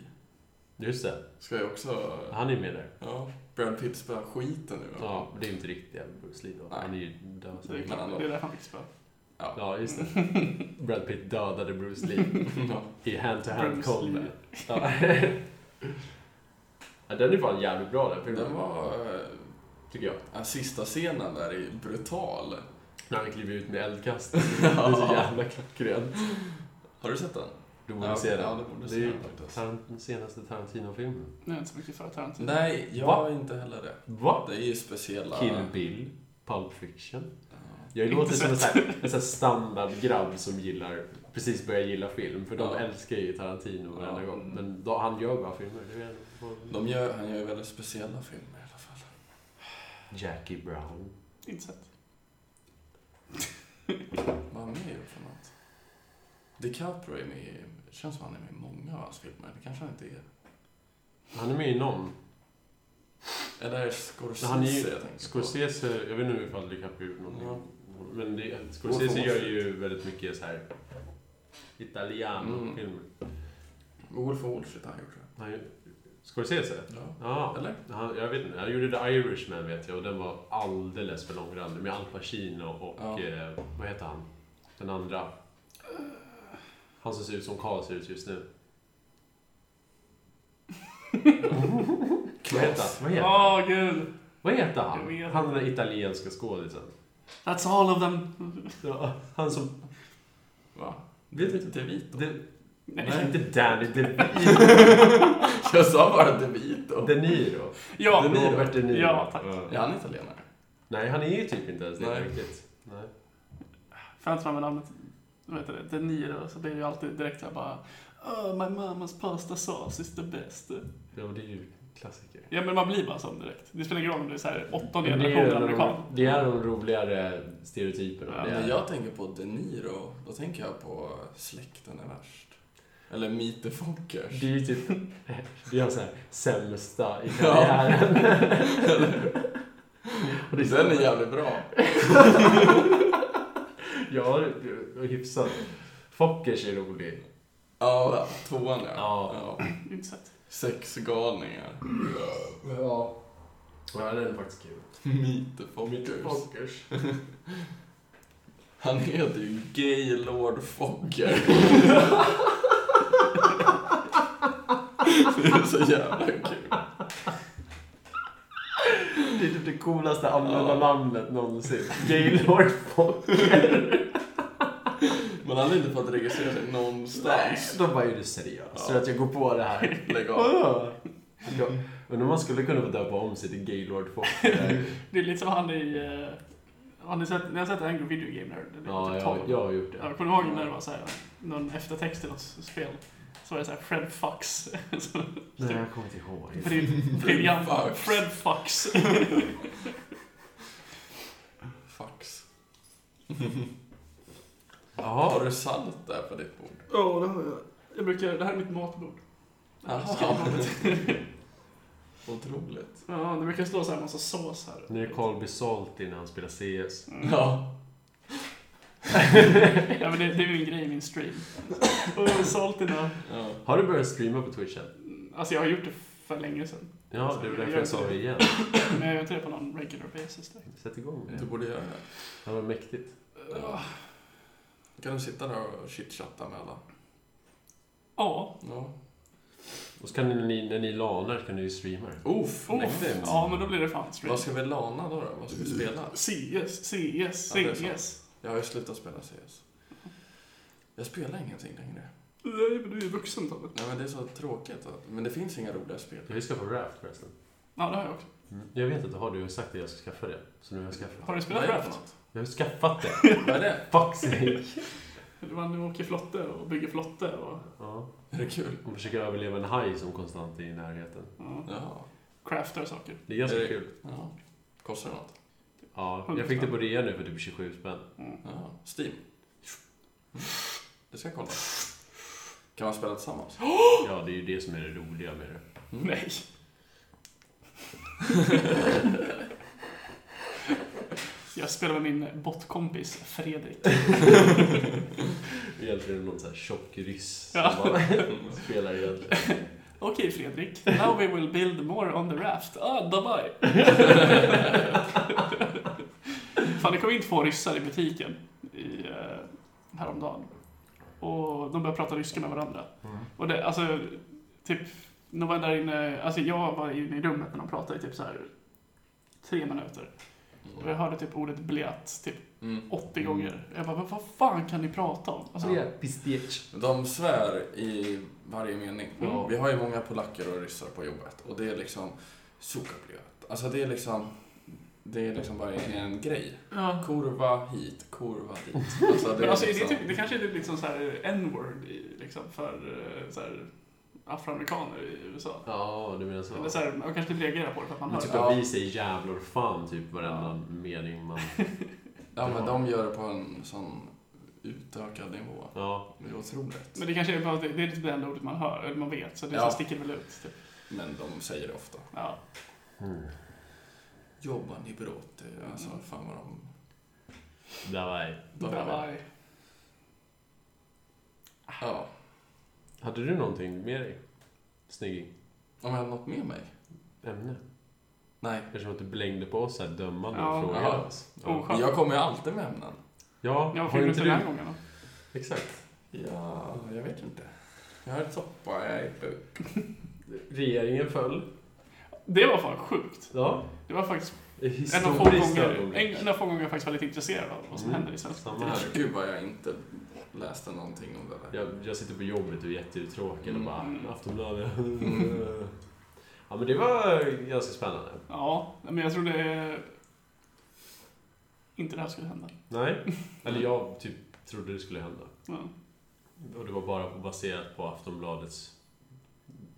S4: Just det,
S2: ska jag också...
S4: han är ju med där.
S2: Ja, Brad Pitt spelar skiten nu.
S4: Ja, men det är ju inte riktiga Bruce Lee då.
S2: Nej.
S4: Han är ju död
S1: Det är
S4: sen.
S2: Men ändå.
S1: klart, det är därför han fick spö.
S2: Ja.
S4: Ja, just det. Brad Pitt dödade Bruce Lee
S2: (laughs) Ja.
S4: i hand-to-hand
S1: Bruce Lee.
S4: combat. Ja. (laughs) ja, den är fan jävligt bra den filmen.
S2: Den var... eh,
S4: Tycker jag.
S2: ja, Sista scenen där är brutal.
S4: När han kliver ut med eldkast. Det är så jävla klockrent.
S2: Har du sett den?
S4: Du borde
S2: Ja,
S4: se
S2: ja,
S4: den.
S2: du borde
S4: det
S2: se
S4: är ju
S2: den faktiskt.
S4: Taran- senaste Tarantino-filmen.
S1: (laughs) Nu är jag inte så mycket för Tarantino.
S2: Nej, jag
S4: Va?
S2: är inte heller det.
S4: Vad?
S2: Det är ju speciella...
S4: Kill Bill, Pulp Fiction.
S2: Ja.
S4: Jag
S1: Inte
S4: låter som en
S1: sett.
S4: sån här, en sån här standardgrabb som gillar, precis börjar gilla film. För de
S2: Ja.
S4: älskar ju Tarantino varenda
S2: Ja.
S4: gång. Men då, han gör bra filmer. Det är
S2: De gör, han gör ju väldigt speciella filmer i alla fall.
S4: Jackie Brown.
S1: Inte sett.
S2: Vad har han med i för något? DiCaprio är med i... Det känns som han är med i många av hans filmer. Det kanske han inte är.
S4: Han är med i någon.
S2: Eller är det Scorsese
S4: Men han är ju-
S2: jag tänker på?
S4: Scorsese, jag vet inte ifall DiCaprio gjort någonting.
S2: Ja.
S4: Men det, Scorsese gör ju väldigt mycket så här italiano-filmer.
S2: Mm. Wolf of Wall Street har han gjort det.
S4: Han, Scorsese?
S2: Ja.
S4: Ja.
S2: Eller?
S4: Han, jag vet inte. Han gjorde The Irishman vet jag och den var alldeles för långrandig med Al Pacino och
S2: Ja.
S4: eh, vad heter han? Den andra. Han som ser ut som Karl ser ut just nu. vad heter han? Vad heter han?
S1: Åh gud.
S4: Vad heter han?
S1: Jag vet inte.
S4: Han den där italienska skådisen.
S1: That's all of them.
S4: Ja, han som...
S2: Va?
S4: Vet du
S2: inte DeVito.
S4: Det,
S1: Nej.
S4: nej, inte Danny DeVito.
S2: (laughs) Jag sa bara DeVito.
S4: De Niro.
S1: Ja.
S4: De Niro. Robert De Niro.
S1: Ja, tack.
S2: Är han italienare?
S4: Nej, han är ju typ inte ens det
S2: Nej.
S4: riktigt. Nej.
S1: Får jag inte fram med namnet, vad heter det, De Niro, så blir det ju alltid direkt såhär bara Oh, my mamas pasta sauce is the best.
S4: Ja, men det är ju klassiker.
S1: Ja, men man blir bara sån direkt. Det spelar ingen roll om du är såhär åttonde
S4: Men det är ju
S1: generationen
S4: de-
S1: amerikan.
S4: Det är de roligare stereotyperna.
S1: Ja,
S4: det
S2: När
S4: är,
S2: jag tänker på De Niro, då tänker jag på Släkten är värst. Eller Meet the Fockers.
S4: det är ju typ (laughs) det är så här, sämsta i
S2: (laughs)
S4: karriären. Och (laughs) det
S2: Den är jävligt bra.
S4: Ja, det är hyfsat. Fockers är rolig.
S2: Ja, tvåan ja.
S4: Ja.
S2: ja. (laughs)
S1: Inte sett.
S2: Sexgalningar.
S4: Ja. Ja, den är faktiskt kul.
S2: Meet the Fockers.
S4: Fockers.
S2: Han heter ju Gaylord Focker. Det är så jävla kul.
S4: (laughs) Det är typ det coolaste använda
S2: Ja.
S4: namnet någonsin. (laughs) Gaylord Focker.
S2: Men han har inte fått registrera sig någonstans.
S4: De bara, är du seriös?
S2: Ja.
S4: Tror du att jag går på det här?
S2: Lägg av.
S4: Ja. (laughs) Ja. Undrar om man skulle kunna få döpa om sig till Gaylord (laughs) Focker.
S1: Det är lite som han i... eh, Har ni sett, ni har sett Angry Video Game Nerd? Det är
S4: ja,
S1: typ
S4: jag,
S1: tolv.
S4: jag har gjort
S1: Ja,
S4: det.
S1: kommer du ihåg när det var såhär, någon eftertext till något spel? Så var det såhär Fred Fox. (laughs) Så,
S4: Nej, jag kommer inte ihåg.
S1: bril- briljant.
S2: Fox.
S1: Fred Fox.
S2: Fax. Har
S4: Jaha.
S2: du salt där på ditt bord?
S1: Ja, oh, det har jag. jag brukar, det här är mitt matbord.
S2: Jaha. Otroligt.
S1: Ja, det brukar stå så här massa sås här. Mm.
S4: Nu är Colby Salty när han spelar CS.
S2: Ja.
S1: Ja, men det, det är ju en grej i min stream. Och saltina.
S2: ja.
S4: Har du börjat streama på Twitch än?
S1: Alltså jag har gjort det för länge sedan.
S4: Ja, det är därför jag sa det igen.
S1: Men jag gör inte det på någon regular basis direkt.
S4: Sätt igång med
S2: Du
S4: det.
S2: borde göra det.
S4: Det var mäktigt.
S1: Ja,
S2: Kan du sitta där och chitchatta med alla?
S1: ja.
S2: Ja.
S4: Och så kan ni, när ni lanar kan ni ju streama det.
S2: Oof,
S1: Oh,
S2: mäktigt.
S1: ja, men då blir det fan stream.
S2: Vad ska vi lana då, då? Vad ska vi spela?
S1: CS, CS,
S2: Ja, det är sant.
S1: CS.
S2: Jag har ju slutat spela CS. Jag spelar ingenting längre.
S1: Nej, men du är ju vuxen Tobbe.
S2: Nej men det är så tråkigt. Att, men det finns inga roliga
S4: Jag
S2: spel.
S4: vill skaffa Raft förresten.
S1: Ja, det har jag också.
S4: Jag vet inte, har du sagt att jag ska skaffa det? Så nu har jag skaffat det.
S1: Mm. Har du spelat
S2: Vad är det
S1: Raft?
S2: för något?
S4: Jag har
S1: (laughs)
S4: skaffat det!
S2: Vad är det?
S4: Fuck sake!
S1: Man åker flotte och bygger flotte och
S4: Ja.
S2: Är det kul?
S4: Och försöka överleva en haj som konstant är i närheten.
S1: ja,
S2: Jaha.
S1: craftar saker.
S4: Det är ganska
S2: Är det-
S4: kul.
S2: Ja. Kostar det något?
S4: Ja, jag fick det på rea nu för typ 27 spänn.
S2: Jaha. Steam? Det ska jag kolla. Kan man spela tillsammans? Mm.
S4: Ja, det är ju det som är det roliga med
S1: (laughs)
S4: det. (laughs)
S1: Nej. jag spelar med min bottkompis Fredrik.
S4: Det är Egentligen någon sån här tjock ryss som
S1: Ja.
S4: bara (laughs) spelar egentligen.
S1: Okej Fredrik, now we will build more on the raft. Ah, bye Fan, det kom in två ryssar i butiken i, eh, häromdagen. Och de började prata ryska med varandra. Och det, alltså, typ, de var där inne, alltså jag var inne i rummet när de pratade i typ så här tre minuter. Och jag hörde typ ordet blät typ
S2: Mm.
S1: 80 gånger. Jag bara, "Vad- vad fan kan ni prata om? Alltså,
S4: pistech.
S2: De svär i varje mening.
S4: Mm.
S2: Vi har ju många polacker och ryssar på jobbet och det är liksom suka blöt. Alltså det är liksom det är liksom bara en grej.
S1: ja.
S2: Kurva hit, kurva
S1: (laughs)
S2: dit. Alltså det
S1: Men
S2: är
S1: alltså, det, är
S2: liksom...
S1: typ, det kanske är typ liksom så här n-word i, liksom, för eh, så här, afroamerikaner i USA.
S4: Ja, du menar så.
S1: Eller så här, man kanske inte reagerar på det för att man
S4: Men
S1: hör
S4: typ
S1: det.
S2: Ja.
S4: att vi säger jävlar och fan typ varenda mening man...
S2: Ja men de gör det på en sån utökad nivå.
S4: Ja.
S2: Det är otroligt.
S1: Men det kanske är bara det, det är typ det enda ordet man hör, eller man vet, så det ja.
S2: Ja.
S1: sticker väl ut. Typ.
S2: Men de säger det ofta.
S1: Ja.
S4: Mm.
S2: Jobbar ni bra åt det? Alltså fan vad de...
S4: Давай.
S2: de
S1: Bye-bye.
S2: Ja.
S4: Hade du någonting med dig? Snygging.
S2: Om jag hade något med mig?
S4: Ämne?
S2: Nej.
S4: Eftersom att du blängde på oss så här dömande
S1: Ja.
S4: och frågade
S2: Ja.
S4: oss.
S1: Oh,
S4: Ja,
S1: skönt.
S2: Jag kommer ju alltid med ämnen.
S4: ja,
S1: Ja, vad
S4: har
S1: fick du
S4: inte
S1: inte den här
S4: du...
S1: gången då?
S4: Exakt.
S2: Ja, jag vet inte. Jag har ett soppa, jag är ett buk.
S4: Regeringen föll.
S1: Det var fan sjukt.
S4: Ja.
S1: Det var faktiskt en av få
S4: Historiskt
S1: gånger, en,
S4: ögonblick.
S1: en av få gånger jag faktiskt var lite intresserad av vad som
S4: Mm.
S1: händer i svensk
S4: Samma
S1: politik.
S4: här.
S2: Gud vad jag inte läste någonting om det där.
S4: Jag, jag sitter på jobbet och är jätteuttråkad och bara
S1: Mm.
S4: Aftonbladet. (laughs) ja men det var ganska spännande.
S1: Ja, men jag trodde inte det här skulle hända. (laughs)
S4: Nej? Eller jag typ trodde det skulle hända.
S1: Ja.
S4: Och det var bara baserat på Aftonbladets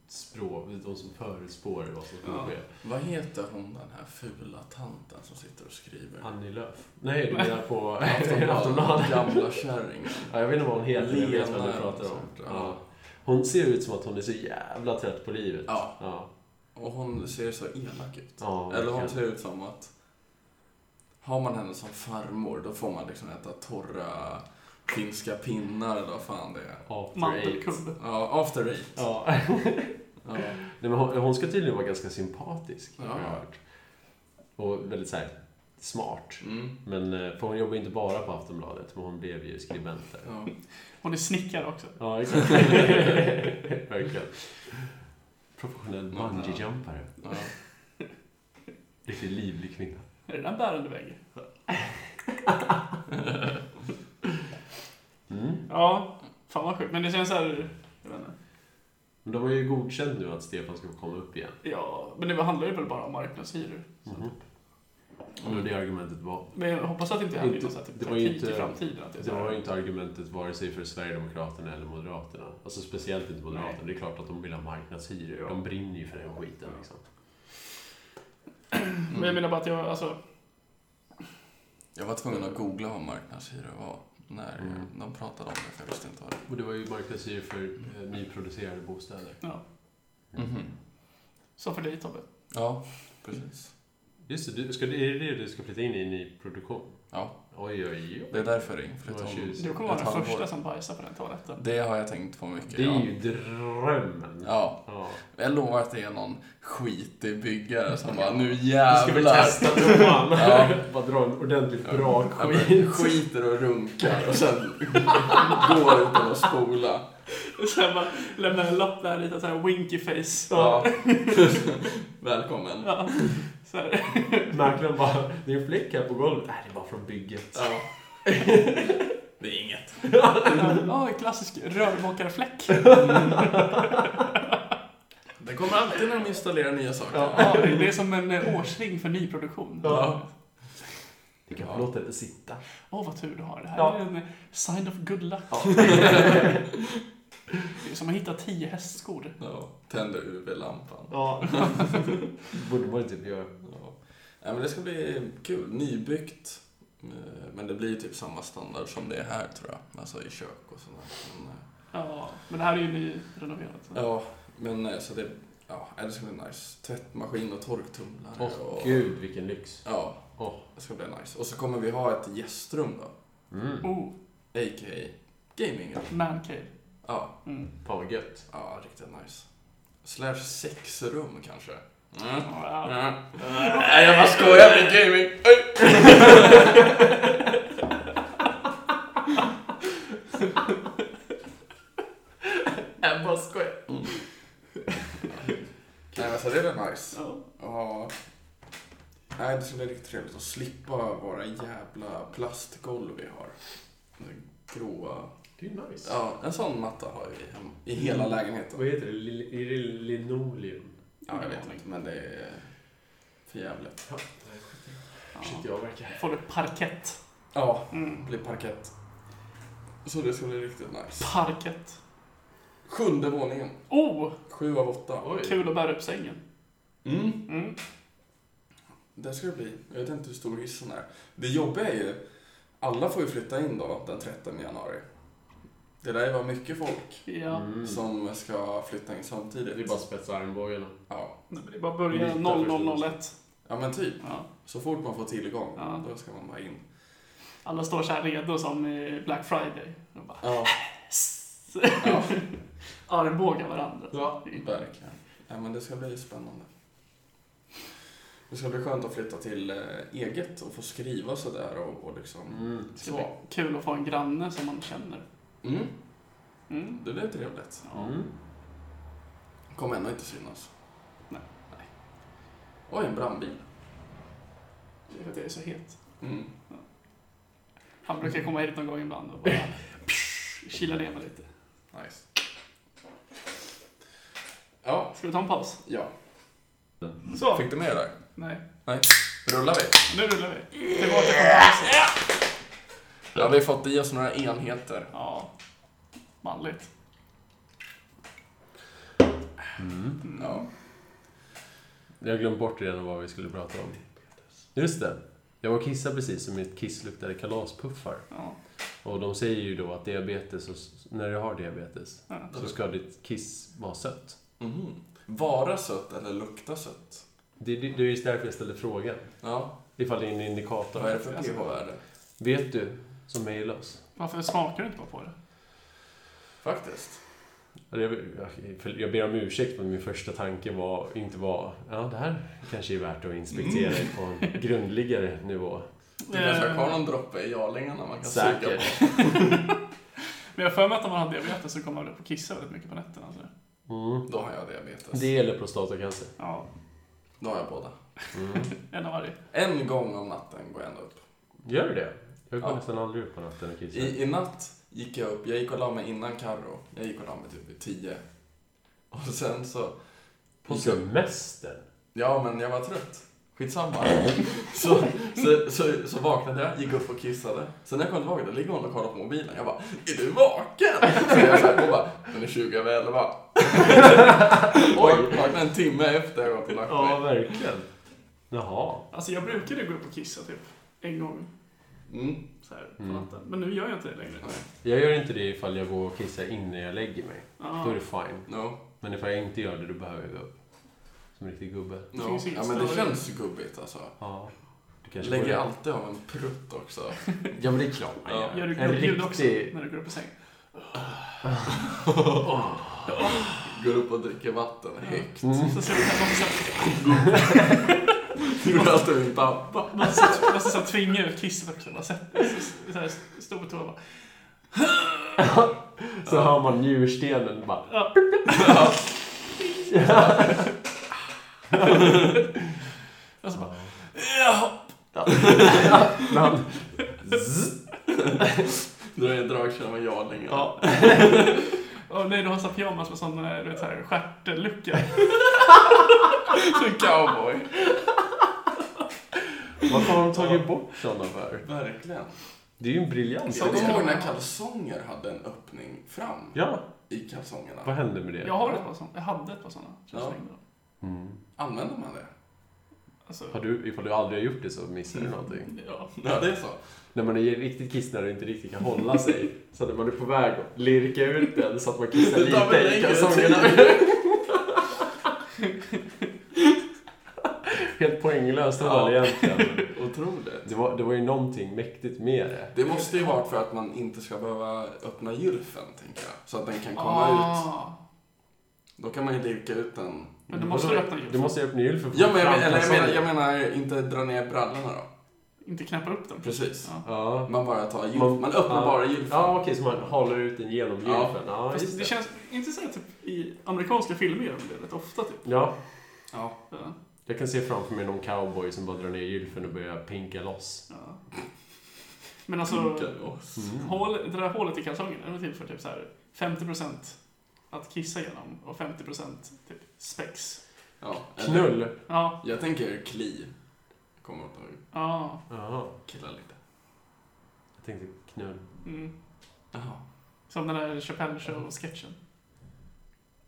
S4: språk, de som förutspår vad som skulle
S1: Ja.
S4: ske.
S2: Vad heter hon den här fula tanten som sitter och skriver?
S4: Annie Lööf? Nej, du menar (laughs) på
S2: Aftonbladet.
S4: Aftonbladet?
S2: Gamla kärringen.
S4: Ja, jag vet inte vad hon heter, men jag vet vem du
S2: Lena
S4: pratar om.
S2: eller något sånt.
S4: Ja. Hon ser ut som att hon är så jävla trött på livet.
S2: Ja.
S4: ja.
S2: Och hon ser så elak ut.
S4: Ja,
S2: Eller hon
S4: verkligen.
S2: ser ut som att har man henne som farmor då får man liksom äta torra finska pinnar eller vad fan det är.
S4: After eight.
S1: Mandelkubb.
S2: Ja, after eight.
S4: Ja. (laughs)
S2: Ja.
S4: Nej, men hon, hon ska tydligen vara ganska sympatisk, har jag
S2: Ja.
S4: hört. Och väldigt så här, smart.
S2: Mm.
S4: Men, eh, för hon jobbar ju inte bara på Aftonbladet, men hon blev ju skribent där.
S2: Ja.
S1: Hon är snickare också.
S4: Ja, (laughs) exakt. Verkligen. Professionell
S2: Ja.
S4: bungee-jumpare.
S2: Ja.
S4: Riktigt livlig kvinna.
S1: Är det där en bärande vägg?
S4: Mm.
S1: Ja, fan vad sjukt. Men det känns så här... Jag vet inte.
S4: Men de har ju godkänt nu att Stefan ska få komma upp igen.
S1: Ja, men det handlar ju väl bara om marknadshyror.
S4: Mhm. Och det var det argumentet var.
S1: Men jag hoppas att det inte händer
S4: Inte-
S1: någon sån här typ
S4: det var ju
S1: taktik i
S4: inte-
S1: framtiden. Att det är
S4: Det
S1: så
S4: var
S1: här,
S4: ju inte argumentet vare sig för Sverigedemokraterna eller Moderaterna. Alltså speciellt inte Moderaterna.
S1: Nej.
S4: Det är klart att de vill ha marknadshyror. De brinner ju för den skiten liksom.
S1: Men
S4: Mm.
S1: jag menar bara att jag, alltså...
S2: Jag var tvungen att googla vad marknadshyror var när
S4: Mm.
S2: de pratade om det, för jag visste inte vad det
S4: Och det var ju marknadshyror för eh, nyproducerade bostäder. Mm.
S1: Ja.
S2: var.
S4: Mm-hmm.
S2: Mhm.
S1: Så för dig Tobbe.
S2: Ja, precis.
S4: Just det, du, ska, är det det du ska flytta in i en ny produktion?
S2: Ja.
S4: Oj, oj, oj.
S2: Det är därför det är inflytt
S4: Det var tjusigt.
S1: Du kommer vara
S2: ett
S1: den
S2: halvår.
S1: första som bajsar på den toaletten. (laughs)
S2: Det har jag tänkt på mycket.
S4: Det är
S2: ja.
S4: ju drömmen.
S2: Ja,
S4: Ja.
S2: jag lovar att det är någon skitig byggare som bara nu
S4: Nu ska vi
S2: jävlar.
S4: testa domaren.
S2: (laughs) Ja.
S4: (laughs) Bara dra en ordentligt
S2: Ja.
S4: bra
S2: Ja, men
S4: skit. (laughs)
S2: skiter och runkar och sen går utan att spola.
S1: Sen bara lämnar en lapp där lite såhär winky face.
S2: Ja. (laughs) Välkommen. Ja.
S1: Ja, så här.
S4: Mäklaren bara, det är en fläck här på golvet. Nej, det var från bygget.
S2: Det är inget.
S1: Ja, klassisk rörmokarfläck.
S2: Det kommer alltid när de installerar nya saker.
S1: Ja, det är som en eh, årsring för nyproduktion. Åh,
S4: Ja. Det
S2: Ja.
S4: kan låta det sitta.
S1: vad tur du har. Det här
S4: Ja.
S1: är en eh, sign of good luck. (laughs) Det är som att hitta tio hästskor.
S2: Ja. Tänder UV-lampan.
S4: Ja. (laughs) Borde man typ göra.
S2: Ja. Nej, men det ska bli kul. Nybyggt. Eh, Men det blir typ samma standard som det är här tror jag. Alltså i kök och sådär. Men, eh,
S1: Ja, men det här är ju nyrenoverat.
S2: ja, men eh, så det... Ja, nej, det ska bli nice. Tvättmaskin och torktumlare.
S4: Åh
S2: och,
S4: gud, vilken lyx.
S2: Ja,
S4: Åh.
S2: det ska bli nice. Och så kommer vi ha ett gästrum då.
S4: Mm.
S1: Oh,
S2: A.k.a. gaming.
S1: mancave.
S2: Ja,
S1: Mm.
S4: Fan vad gött.
S2: ja, riktigt nice. Slash sexrum kanske. Mm.
S1: Wow.
S2: Mm. Nej, jag bara skojar med gaming. Oj.
S1: (laughs) Jag bara skojar.
S2: Nej, men så det är väl nice.
S1: Ja.
S2: Ja. Nej, det skulle bli riktigt trevligt att slippa våra jävla plastgolv vi har. Den Gråa.
S4: Det är ju nice.
S2: Ja, en sån matta har vi hem- i hela
S1: Mm.
S2: lägenheten.
S4: Vad heter det? Lil- Är det linoleum?
S2: Ja, jag vet inte, men det är för jävligt.
S4: Ja.
S1: Ja.
S4: Shit, jag verkar...
S1: Får du parkett?
S2: Ja,
S1: Mm.
S2: det blir parkett. Så det ska bli riktigt nice.
S1: Parkett.
S2: Sjunde våningen.
S1: Oh,
S2: Sju av åtta.
S4: Oj.
S1: kul att bära upp sängen.
S2: Mm.
S1: Mm.
S2: Det ska det bli. Jag vet inte hur stor hissen är. Det jobbiga är ju, alla får ju flytta in då den 13 januari. Det där var mycket folk.
S1: Ja.
S4: Mm.
S2: som ska flytta in samtidigt.
S4: Det är bara att spetsa armbågarna.
S2: ja.
S1: Nej, men det är bara att börja
S4: Lite
S1: 0001.
S2: ja, men typ.
S1: Ja.
S2: Så fort man får tillgång,
S1: Ja.
S2: då ska man bara in.
S1: Alla står så här redo som i Black Friday. De bara
S2: Ja,
S1: (laughs) armbågar varandra.
S4: Ja.
S2: verkligen. Nej, men det ska bli spännande. Det ska bli skönt att flytta till eh, eget och få skriva sådär och, och liksom...
S4: Mm.
S1: Det ska bli kul att få en granne som man känner.
S2: Mm,
S1: Mm.
S2: det blir trevligt.
S1: Ja.
S4: Mm.
S2: Kommer ändå inte synas.
S1: Nej.
S2: Nej. Oj, en brandbil.
S1: Det är för att jag är så het.
S2: Mm.
S1: Han brukar komma hit någon gång ibland och bara
S4: (laughs)
S1: psh, kila ner mig lite.
S2: Nice. Ja,
S1: Ska vi ta en paus?
S2: ja.
S1: Så!
S2: Fick du med det där?
S1: Nej,
S2: Nej. Rullar vi?
S1: nu rullar vi. Tillbaka från pausen.
S2: Ja, vi har fått i oss några enheter.
S1: Ja, manligt.
S2: Ja.
S4: Jag har glömt bort redan vad vi skulle prata om. Just det. Jag var och kissade precis och mitt kiss luktade kalaspuffar.
S1: Ja.
S4: Och de säger ju då att diabetes, och, när du har diabetes,
S1: Ja.
S4: så ska ditt kiss vara sött.
S2: Mhm. Vara sött eller lukta sött?
S4: Det, det, det är just därför jag ställde frågan.
S2: Ja,
S4: Ifall det är en indikator.
S2: vad är det för pH-värde?
S4: Vet du, som mejlar oss.
S1: Varför smakar du inte bara på det?
S2: Faktiskt.
S4: Eller Jag, jag- för- jag ber om ursäkt, men min första tanke var inte var ja, det här kanske är värt att inspektera på en grundligare nivå.
S2: Du kanske har kvar någon droppe i jarlingarna man kan suga på?
S4: Säkert.
S1: Men jag har för mig att om man har diabetes så kommer man väl upp och kissa väldigt mycket på nätterna. Alltså.
S4: Mm.
S2: Då har jag diabetes.
S4: Det eller prostatacancer.
S1: Ja,
S2: Då har jag båda.
S4: Mm.
S1: en av varje.
S2: En gång om natten går jag ändå upp.
S4: Gör du det? Jag går
S2: Ja.
S4: nästan aldrig upp på natten och kissar.
S2: I, I natt gick jag upp, jag gick och la mig innan Carro. Jag gick och la mig typ vid tio. Och sen så...
S4: På
S2: gick jag-
S4: semester?
S2: Ja, men jag var trött.
S4: (laughs)
S2: Skitsamma. Så, så, så, så vaknade jag, gick upp och kissade. Sen när jag kom tillbaka, då ligger hon och kollar på mobilen. Jag bara, är du vaken? Så jag så här, hon bara, den är 20 över
S4: (laughs)
S2: 11. Oj, vaknade en timme efter jag gått och lagt
S4: Ja,
S2: mig.
S4: verkligen. Jaha.
S1: Alltså jag brukade gå upp och kissa typ en gång
S2: Mm.
S1: så här på
S4: Mm.
S1: natten. Men nu gör jag inte det längre.
S2: Nej,
S4: Jag gör inte det ifall jag går och kissar innan jag lägger mig.
S1: Ja.
S4: Då är det fine.
S2: no,
S4: Men ifall jag inte gör det, då behöver jag gå upp. Som en riktig gubbe.
S2: no. Ja, men det känns gubbigt alltså.
S4: Ja. Du kanske
S2: Lägger
S4: borde-
S2: alltid av en prutt också.
S4: Ja, men det är klart man
S2: Ja.
S1: Gör du
S4: En
S1: gubbljud också
S4: riktig...
S1: när du går upp i säng?
S2: Går upp och dricker vatten. Hej.
S4: Mm.
S1: Så ser du att man måste så här-
S2: Det gjorde alltid min pappa.
S1: man måste- måste så här tvinga ut kisset också. Bara sätt, så, så här, stå på toa och bara.
S4: Så hör man njurstenen bara... (laughs)
S1: Ja. Och så Alltså bara. Ja.
S4: (laughs) Men,
S2: Då är jag dragkedjan med jarlingen.
S1: ja. Och nej, du har så här pyjamas med sån eh, du vet, så här, stjärtlucka.
S2: (laughs) En cowboy.
S4: varför har de tagit bort sådana för?
S2: Verkligen.
S4: Det är ju en briljant
S2: Jag kommer
S1: ska
S2: ihåg
S1: man
S2: när
S1: ha.
S2: kalsonger hade en öppning fram
S4: Ja,
S2: i kalsongerna.
S4: vad hände med det?
S1: Jag har ett par såna. Jag hade ett par såna. Så jag
S2: Ja.
S1: slängde dem.
S4: Mm.
S2: Använder man det?
S1: Alltså,
S4: Har du, ifall du aldrig har gjort det så missar
S2: Mm.
S4: du någonting.
S1: ja.
S2: Ja, det är så.
S4: När man är riktigt kissnödig och inte riktigt kan
S2: (laughs)
S4: hålla sig. Så när man är på väg att lirka ut den så att man kissar
S2: Det tar väl
S4: lite i
S2: längre
S4: kalsongerna. (laughs) Helt poänglöst hål
S2: Ja.
S4: egentligen.
S2: (laughs) Otroligt.
S4: Det var, det var ju någonting mäktigt med det.
S2: Det måste ju varit för att man inte ska behöva öppna gylfen, tänker jag. Så att den kan komma ut.
S1: Ah.
S2: Då kan man ju lirka ut den.
S1: Men du måste öppna
S4: Du
S1: gylfen.
S4: måste öppna gylfen. för att
S2: Ja,
S4: få
S2: men jag,
S4: fram
S2: men- eller jag,
S4: kalsongerna.
S2: menar, jag menar inte dra ner brallorna då.
S1: Inte knäppa upp den.
S2: Precis.
S1: Ja.
S4: Ja.
S2: Man bara tar
S4: Man-
S2: gylfen. Man öppnar
S4: ja.
S2: bara gylfen.
S4: Ja, okej, så man håller ut den genom gylfen.
S2: Ja.
S4: Ja, just
S1: Fast det
S4: det.
S1: känns inte så här, typ i amerikanska filmer gör de det rätt ofta typ.
S4: Ja,
S2: Ja.
S1: Ja.
S4: jag kan se framför mig någon cowboy som bara drar ner gylfen och börjar pinka loss.
S1: Ja. Men alltså, hål, det där hålet i kalsongen är väl till för typ så här 50% att kissa genom och 50% typ spex.
S2: Ja.
S4: Knull!
S1: Ja,
S2: Jag tänker kli. Kommer att
S1: ja.
S4: Jaha,
S2: killa lite.
S4: jag tänkte knull.
S1: Mm.
S2: Jaha.
S1: Som den där Chappelle Show-sketchen.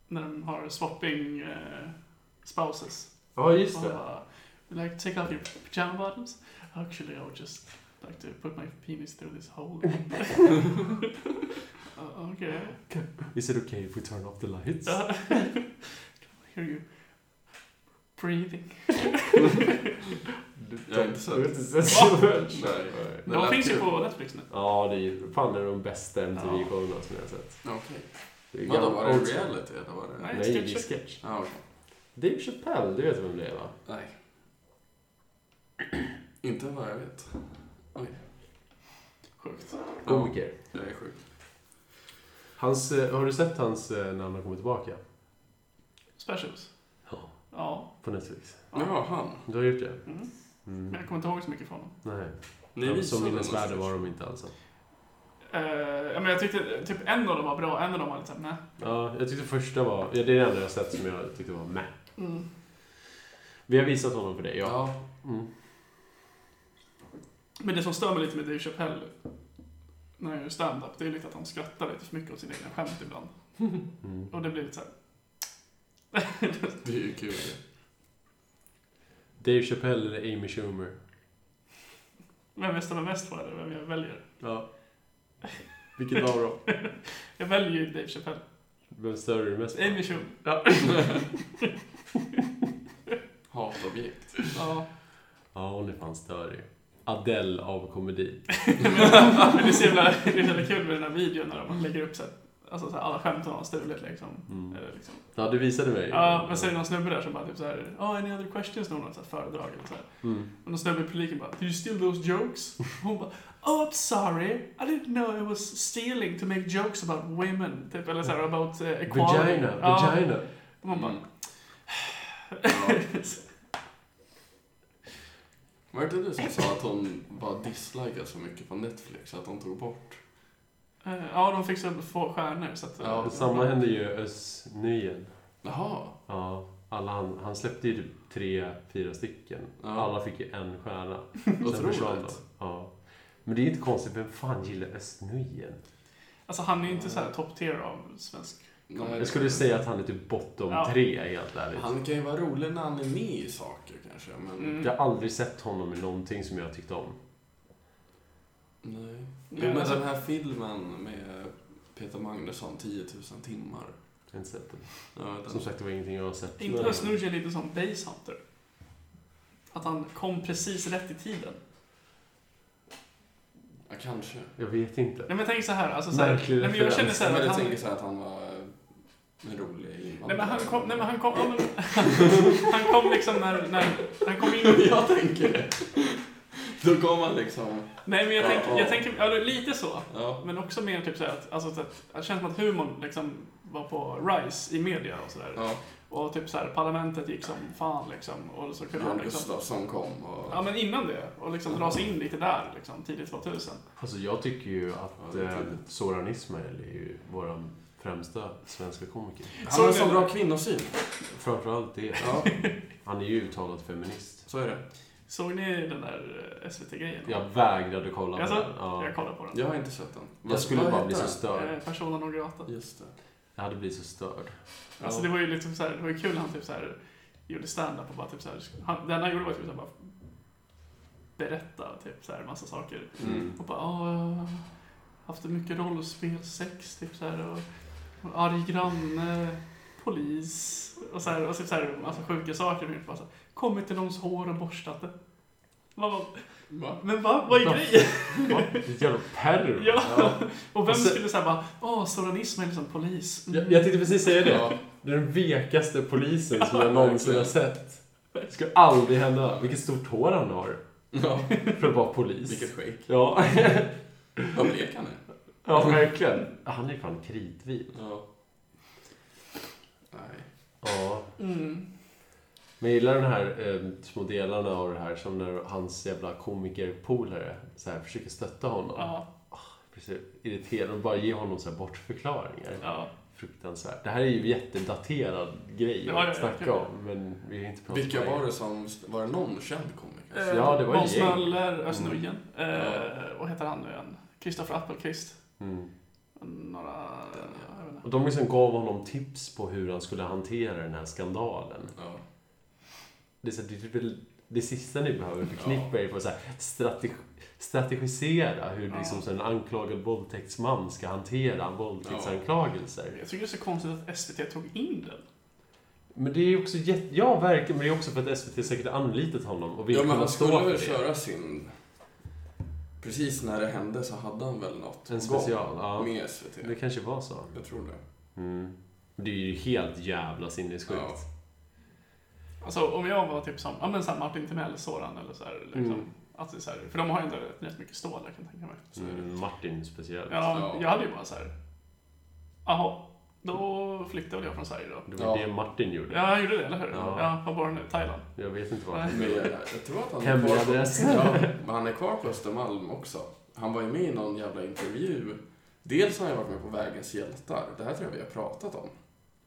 S1: När de har swapping eh, spouses.
S4: Ja, just
S1: Och
S4: det.
S1: bara, "Would you like to take off your pajama bottoms? Actually, I would just like to put my penis through this hole. uh, okay.
S4: Is it okay if we turn off the lights?
S1: Uh, (laughs) hear you breathing.
S2: (laughs) Jag har inte sett.
S4: Du har
S2: (laughs)
S4: inte sett så much.
S2: Nej. Det
S1: De
S2: lät
S1: finns ju
S2: kul.
S1: på Netflix nu.
S4: Ja, det är ju fan en av de bästa MTV-showerna som jag har sett.
S2: Okej.
S4: Det är
S2: Vadå,
S4: gammal-
S2: var det reality eller var det?
S1: Nej.
S4: Nej, det är sketch.
S2: Ja, okej.
S4: Dave Chappelle, du vet vem det är va?
S2: Nej. (clears throat) Inte vad jag vet. Oj,
S1: Sjukt.
S4: Komiker.
S2: jag är sjuk.
S4: Hans, eh, har du sett hans eh, när han kommer tillbaka?
S1: Specials.
S4: Ja.
S1: Ja.
S4: På Netflix.
S2: Det var han.
S4: Du har gjort det?
S1: Mm. Men
S4: Mm.
S1: jag kommer inte ihåg så mycket från dem.
S4: Nej.
S2: Ni
S4: Ja,
S2: visade
S4: så minnesvärda
S2: den
S4: var de inte alls.
S1: Eh, ja, men jag tyckte typ en av dem var bra, en av dem var lite såhär, nej.
S4: Ja, jag tyckte första var... Ja, det är det enda jag har sett som jag tyckte var meh.
S1: Mm.
S4: Vi har visat honom för dig, ja.
S2: Ja.
S4: Mm.
S1: Men det som stör mig lite med Dave Chappelle när han gör stand-up, det är lite att han skrattar lite för mycket åt sina egna skämt ibland.
S4: Mm.
S1: Och det blir lite såhär, (laughs)
S2: Det är ju kul.
S4: Dave Chappelle eller Amy Schumer?
S1: vem jag stämmer mest på eller vem jag väljer?
S4: Ja. Vilket var bra?
S1: Jag väljer ju Dave Chappelle.
S4: Vem stör du mest på?
S1: Amy Schumer.
S2: Hatobjekt.
S1: Ja.
S4: (laughs) Ja, hon är fan störig. Adele av komedi.
S1: (laughs) Men det är så jävla, det är så jävla kul med den här videon när de lägger upp så här, alltså så här, alla skämt de har stulit liksom.
S4: Mm.
S1: Eller liksom.
S4: Ja, du visade mig.
S1: Ja, men så är det någon snubbe där som bara typ såhär, ja, oh, any other questions? Någon har så här föredrag eller så här.
S4: Mm.
S1: Och någon snubbe i publiken bara, did you steal those jokes? Och hon bara, oh I'm sorry, I didn't know it was stealing to make jokes about women. Typ, eller såhär about eh, equality.
S4: Vagina,
S1: Ja.
S4: vagina.
S1: Och man bara,
S2: Mm. Ja. Var det inte du som sa att hon bara dislikade så mycket på Netflix att hon tog bort?
S1: (laughs) eh, ja de fick så få stjärnor så att... eh,
S2: Ja,
S4: Samma hände ju Özz Nujen.
S2: Jaha.
S4: Ja, alla han, han släppte ju typ tre, fyra stycken.
S2: Ja.
S4: Alla fick ju en stjärna.
S1: (laughs)
S4: Sen försvann de.
S2: Otroligt.
S4: Ja. Men det är ju inte konstigt, vem fan gillar Özz Nujen?
S1: Alltså han är ju inte såhär top tier av svensk.
S2: Nej,
S4: Jag skulle säga att han är typ bottom
S1: Ja.
S4: tre, helt ärligt.
S2: Han kan ju vara rolig när han är med i saker kanske, men...
S1: Mm.
S4: Jag har aldrig sett honom i någonting som jag tyckte om.
S2: Nej.
S1: Ja,
S2: men
S4: Eh,
S1: alltså-
S2: den här filmen med Peter Magnusson, 10 000 timmar.
S4: Jag har inte sett det.
S2: Ja, den...
S4: Som sagt, det var ingenting jag har sett.
S1: Inte ens nu är lite som Basehunter. Att han kom precis rätt i tiden.
S2: Ja, kanske.
S4: Jag vet inte.
S1: Nej men tänk så här, alltså så här,
S4: Märklig
S1: nej, men jag
S4: referens.
S1: känner så
S2: Nej,
S1: här
S2: men
S1: att
S2: jag
S1: han...
S2: tänker så här att han var en rolig
S1: Nej
S2: invandrare.
S1: men han kom, nej men han kom, ja, men, (laughs) han kom liksom när, när, han kom in,
S2: (laughs) jag tänker det. Då kom han liksom...
S1: nej men jag
S2: Ja,
S1: tänker,
S2: ja.
S1: jag tänker, ja det är lite så.
S2: Ja.
S1: Men också mer typ så här att, alltså så att, det känns som att humorn liksom var på rise i media och sådär.
S2: ja.
S1: Och typ så här, parlamentet gick som fan liksom. Och så kunde han
S2: Björn
S1: liksom,
S2: Gustafsson kom och...
S1: ja men innan det, och liksom dras in lite där liksom, tidigt 2000.
S4: Alltså, jag tycker ju att
S2: Ja, det är
S4: eh,
S2: tydligt.
S4: Soran Ismail är ju vår främsta svenska komiker.
S2: Han
S1: Såg
S2: har en
S1: ni
S2: sån
S1: det?
S2: bra kvinnosyn.
S4: Framförallt det.
S2: Ja,
S4: Han är ju uttalad feminist.
S2: så är det.
S1: Såg ni den där eh, SVT-grejen?
S4: Jag vägrade kolla på
S1: Jaså?
S4: den. Ja.
S1: Jag kollar på den.
S2: Jag har inte sett den.
S4: Jag skulle
S2: Vad
S4: bara
S2: heter
S4: bli så
S2: den?
S4: störd.
S1: Eh, Persona non grata.
S2: Just det.
S4: Jag hade blivit så störd.
S1: Alltså
S2: Ja.
S1: det var ju liksom så här, det var ju kul när han typ så här gjorde stand-up och bara typ så här, han, det enda han gjorde var typ så här bara berätta typ så här massa saker.
S4: Mm.
S1: Och bara, "Ja, jag har haft mycket rollspel, sex typ så här och, och arg granne, polis och så här, och typ så här massa sjuka saker. Och bara så här, kommit till någons hår och borstat det. Man bara,
S2: Va?
S1: men va? Vad är grejen? (laughs)
S4: Va? Vilket jävla perro!
S1: Ja. Och vem
S4: Och sen-
S1: skulle säga bara, "Ah, åh, Soran Ismail som polis. Mm.
S4: Jag, jag tänkte precis säga det.
S2: Ja.
S4: Det är den vekaste polisen som jag
S2: Ja,
S4: någonsin har
S2: verkligen.
S4: sett. Det ska aldrig hända. Vilket stort hår han har
S2: ja.
S4: (laughs) för att vara polis.
S2: Vilket skägg.
S4: Ja,
S2: Vad blek han är.
S4: ja verkligen. Han är ju fan kritvit.
S2: Ja. Nej.
S4: Ja.
S1: Mm.
S4: Men jag gillar den här eh, små delarna av det här som när hans jävla komikerpolare så här, försöker stötta honom.
S1: Ja,
S4: Precis, irriterad och bara ge honom så här bortförklaringar.
S1: ja.
S4: Fruktansvärt. Det här är ju jättedaterad grej
S1: Ja, ja, ja,
S4: att snacka
S1: ja.
S4: om, men vi har inte pratat
S2: Vilka
S4: om det.
S2: var det som... Var det någon känd komiker?
S1: Eh,
S4: Ja, det var ju
S1: Måns
S4: gäng.
S1: Möller, Özz
S4: Mm.
S1: Nujen. Eh, vad heter han nu igen? Kristoffer Appelqvist.
S4: Mm.
S1: Några...
S2: Den, ja.
S1: Jag vet inte.
S4: Och de liksom gav honom tips på hur han skulle hantera den här skandalen.
S2: Ja.
S4: Det, är så, här, det, är väl det sista ni behöver förknippa er på så här, strategi, strategisera hur
S1: Ja.
S4: liksom, så en anklagad våldtäktsman ska hantera våldtäktsanklagelser.
S1: Jag tycker det är så konstigt att SVT tog in den.
S4: Men det är ju också jätte... Ja, verkligen. Men det är också för att SVT säkert anlitat honom och vill
S2: ja, men
S4: kunna
S2: han
S4: stå
S2: skulle
S4: för det.
S2: väl köra sin... Precis när det hände så hade han väl något
S4: En
S2: gång
S4: special, ja.
S2: med SVT.
S4: Det kanske var så. (laughs)
S2: Jag tror det.
S4: Mm. Det är ju helt jävla sinnessjukt.
S2: Ja.
S1: Alltså om jag var typ som, ja men såhär Martin Timell, Soran eller såhär liksom.
S4: Mm.
S1: Alltså såhär, för de har ju ändå rätt- rätt mycket stål, jag kan tänka mig. Så,
S4: Mm, Martin speciellt.
S1: ja,
S2: Ja.
S1: jag hade ju bara såhär, jaha, då flyttade väl jag från Sverige då.
S4: Det var
S2: Ja.
S4: det Martin gjorde.
S1: Ja, jag gjorde det, eller hur?
S4: Ja.
S1: Ja, var var han nu? Thailand?
S4: Jag vet inte vad
S1: Nej.
S4: han
S2: Men jag, jag tror att han är
S4: Hemlig
S2: kvar på,
S4: adress.
S2: ja, men han är kvar på Östermalm också. Han var ju med i någon jävla intervju. Dels har han varit med på Vägens hjältar. Det här tror jag vi har pratat om.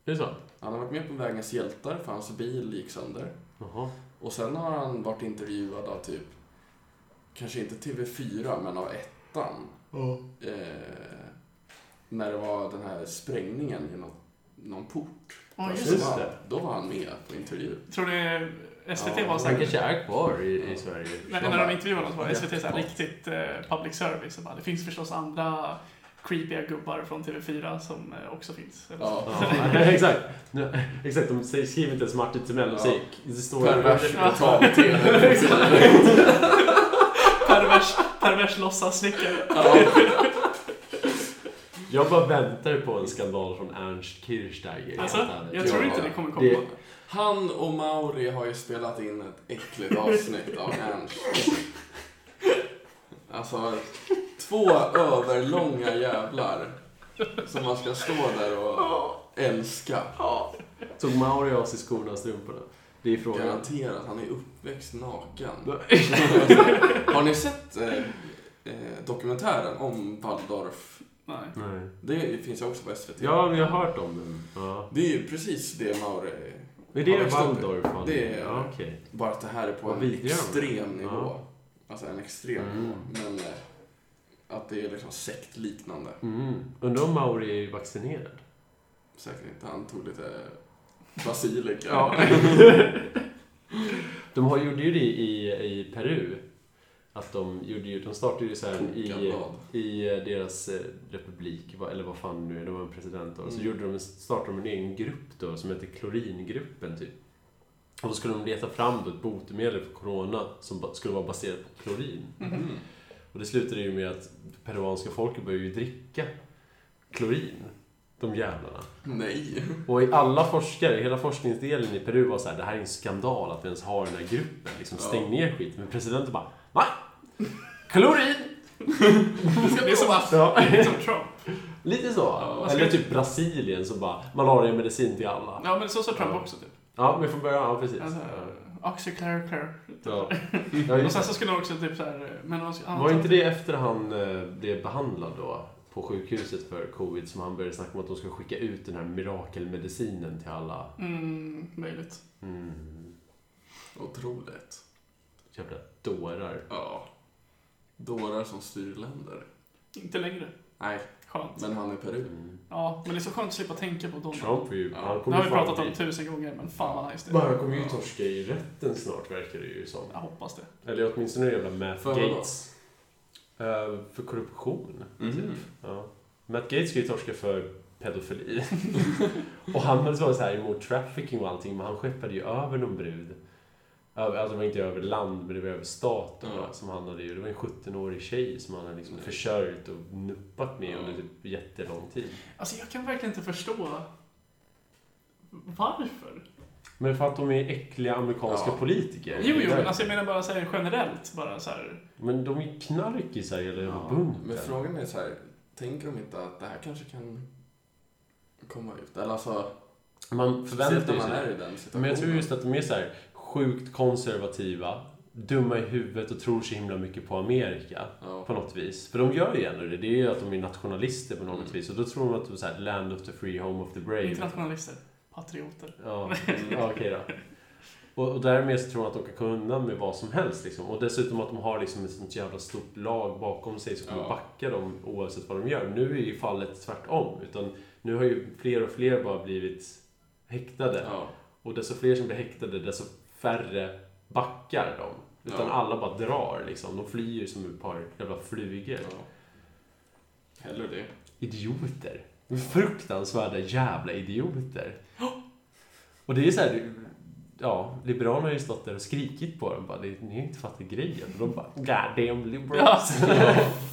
S4: Är det så?
S2: Han har varit med på Vägens hjältar för hans bil gick sönder.
S4: Jaha.
S2: Och sen har han varit intervjuad av typ, kanske inte TV4, men av ettan. Eh, när det var den här sprängningen i något, någon port.
S1: Ja,
S2: Där
S1: just
S2: så
S4: det.
S2: var- Då var han med på intervju.
S1: Jag tror det, SVT
S2: Ja,
S1: var
S4: Han
S1: såhär,
S4: kanske är kvar i, i Sverige.
S1: när,
S2: de
S1: när
S2: bara-
S1: de intervjuade oss var SVT såhär
S2: Ja.
S1: riktigt eh, public service och bara, det finns förstås andra creepiga gubbar från TV4 som eh, också finns. Eller så.
S2: Ja.
S4: Ja, (laughs) exakt. Nu, exakt, de säger- skriver inte ens Martin Timell, de
S2: Ja.
S4: säger... Det står...
S2: Pervers
S1: Ja. (laughs)
S2: betal-tv.
S1: Pervers, pervers låtsassnickare.
S4: Jag bara väntar på en skandal från Ernst Kirchsteiger.
S1: Alltså,
S4: helt ärligt.
S1: jag tror
S2: Ja.
S1: inte det kommer komma.
S4: Det-
S2: Han och Mauri har ju spelat in ett äckligt avsnitt av Ernst. Alltså, två överlånga jävlar som man ska stå där och älska.
S4: Tog Mauri av sig skorna och strumporna? Det är frågan.
S2: Garanterat, han är uppväxt naken.
S4: Nej.
S2: (laughs) Har ni sett eh, eh, dokumentären om Waldorf?
S1: Nej.
S2: Det finns ju också på SVT.
S4: Ja, vi har hört om den. Ja.
S2: Det är ju precis det Mauri...
S4: Men det
S2: Ja,
S4: är
S2: visst.
S4: Waldorf? han-
S2: Det är-
S4: Ja, okej.
S2: Bara att det här är på
S4: Vad
S2: en
S4: vidriga de är.
S2: extrem nivå.
S4: Ja.
S2: Alltså en extrem
S4: Mm.
S2: nivå. Men eh, att det är liksom sektliknande.
S4: Mm. Undrar om Mauri är vaccinerad?
S2: Säkert inte. Han tog lite basilika. (laughs)
S4: (laughs) de har, gjorde ju det i, i Peru. Att de, gjorde ju, de startade ju så här i,
S2: Kokablad.
S4: i eh, deras eh, republik, vad- eller vad fan nu är, det var en president då. Så
S2: Mm.
S4: gjorde de, en- startade de en egen grupp då som hette Kloringruppen typ. Och då skulle de leta fram då ett botemedel för corona som ba- skulle vara baserat på klorin.
S2: Mm.
S4: Och det slutade ju med att peruanska folket började ju dricka klorin. De jävlarna.
S2: Nej.
S4: Och i alla forskare, hela forskningsdelen i Peru var så här, det här är en skandal att vi ens har den här gruppen. Liksom,
S2: Ja.
S4: stäng ner skit. Men presidenten bara, va? Klorin!
S1: Det är som,
S2: (laughs)
S4: Ja.
S1: det
S4: (laughs)
S1: är som Trump.
S4: Lite så. Eller typ Brasilien som bara, man har en medicin till alla.
S1: Ja, men så sa Trump
S4: Ja.
S1: också typ.
S4: Ja, men från början, ja precis.
S1: Alltså, Oxyclariclar.
S4: Ja. Ja,
S1: Och
S4: just,
S1: sen så skulle de också typ såhär... Men de ska,
S4: det. var inte det efter han eh, blev behandlad då? På sjukhuset för covid som han började snacka om att de ska skicka ut den här mirakelmedicinen till alla.
S1: Mm, möjligt.
S4: Mm, Typ
S2: Otroligt.
S4: jävla dårar.
S2: Ja. Dårar som styr länder.
S1: Inte längre.
S2: Nej,
S1: Skönt.
S2: men han är Peru.
S4: Mm.
S1: Ja, men det är så skönt att slippa tänka på Donald.
S4: Trump är ju...
S2: Ja.
S4: Han
S1: Det
S4: kommer
S1: har
S4: ju
S1: vi
S4: fan
S1: pratat
S4: bli-
S1: om tusen gånger, men fan vad nice det
S4: Men
S1: är.
S4: han kommer ju torska i rätten snart verkar det ju som.
S1: Jag hoppas det.
S4: Eller åtminstone jävla Matt
S2: För vad då?
S4: Gates. Eh, för korruption.
S1: Mm.
S2: Mhm.
S4: Ja. Matt Gates ska ju torska för pedofili. (laughs) och han var så här emot trafficking och allting, men han skeppade ju över någon brud. Över, alltså det var inte över land, men det var över staten
S2: Ja.
S4: då, som han hade ju. Det var en 17-årig tjej som han hade liksom
S2: Nej.
S4: försörjt och nuppat med
S2: Ja.
S4: under typ jättelång tid.
S1: Alltså jag kan verkligen inte förstå varför.
S4: Men för att de är äckliga amerikanska
S2: Ja.
S4: politiker.
S1: Jo, jo, men
S4: Därför.
S1: alltså jag menar bara så här generellt. Bara så här,
S4: Men de är knarkisar i hela
S2: Ja.
S4: bunten.
S2: Men frågan är så här, tänker de inte att det här kanske kan komma ut? Eller alltså,
S4: Man
S2: speciellt när
S4: förväntar ju
S2: man
S4: sig
S2: är i
S4: Mm. det.
S2: den situationen.
S4: Men jag tror just att de är så här sjukt konservativa, dumma i huvudet och tror så himla mycket på Amerika.
S2: Ja.
S4: På något vis. För de gör ju ändå det. Det är ju att de är nationalister på något
S2: Mm.
S4: vis. Och då tror de att de är så här, land of the free, home of the brave.
S1: internationalister. Patrioter.
S4: Ja,
S2: Mm.
S4: ja okej då. Och, och därmed så tror de att de kan komma undan med vad som helst. Liksom. Och dessutom att de har liksom ett sånt jävla stort lag bakom sig som kommer
S2: Ja.
S4: backa dem oavsett vad de gör. Nu är ju fallet tvärtom. Utan nu har ju fler och fler bara blivit häktade.
S2: Ja.
S4: Och desto fler som blir häktade, desto färre backar de. Utan
S2: Ja.
S4: alla bara drar liksom. De flyr ju som ett par jävla flugor.
S2: ja. Hellre det.
S4: Idioter. Fruktansvärda jävla idioter. (gasps) Och det är så här, det- ja, Liberalerna har ju stått där och skrikit på dem bara, "Ni- ni har inte fattat grejen. Och de bara, God damn liberals.
S1: alltså,
S4: (laughs)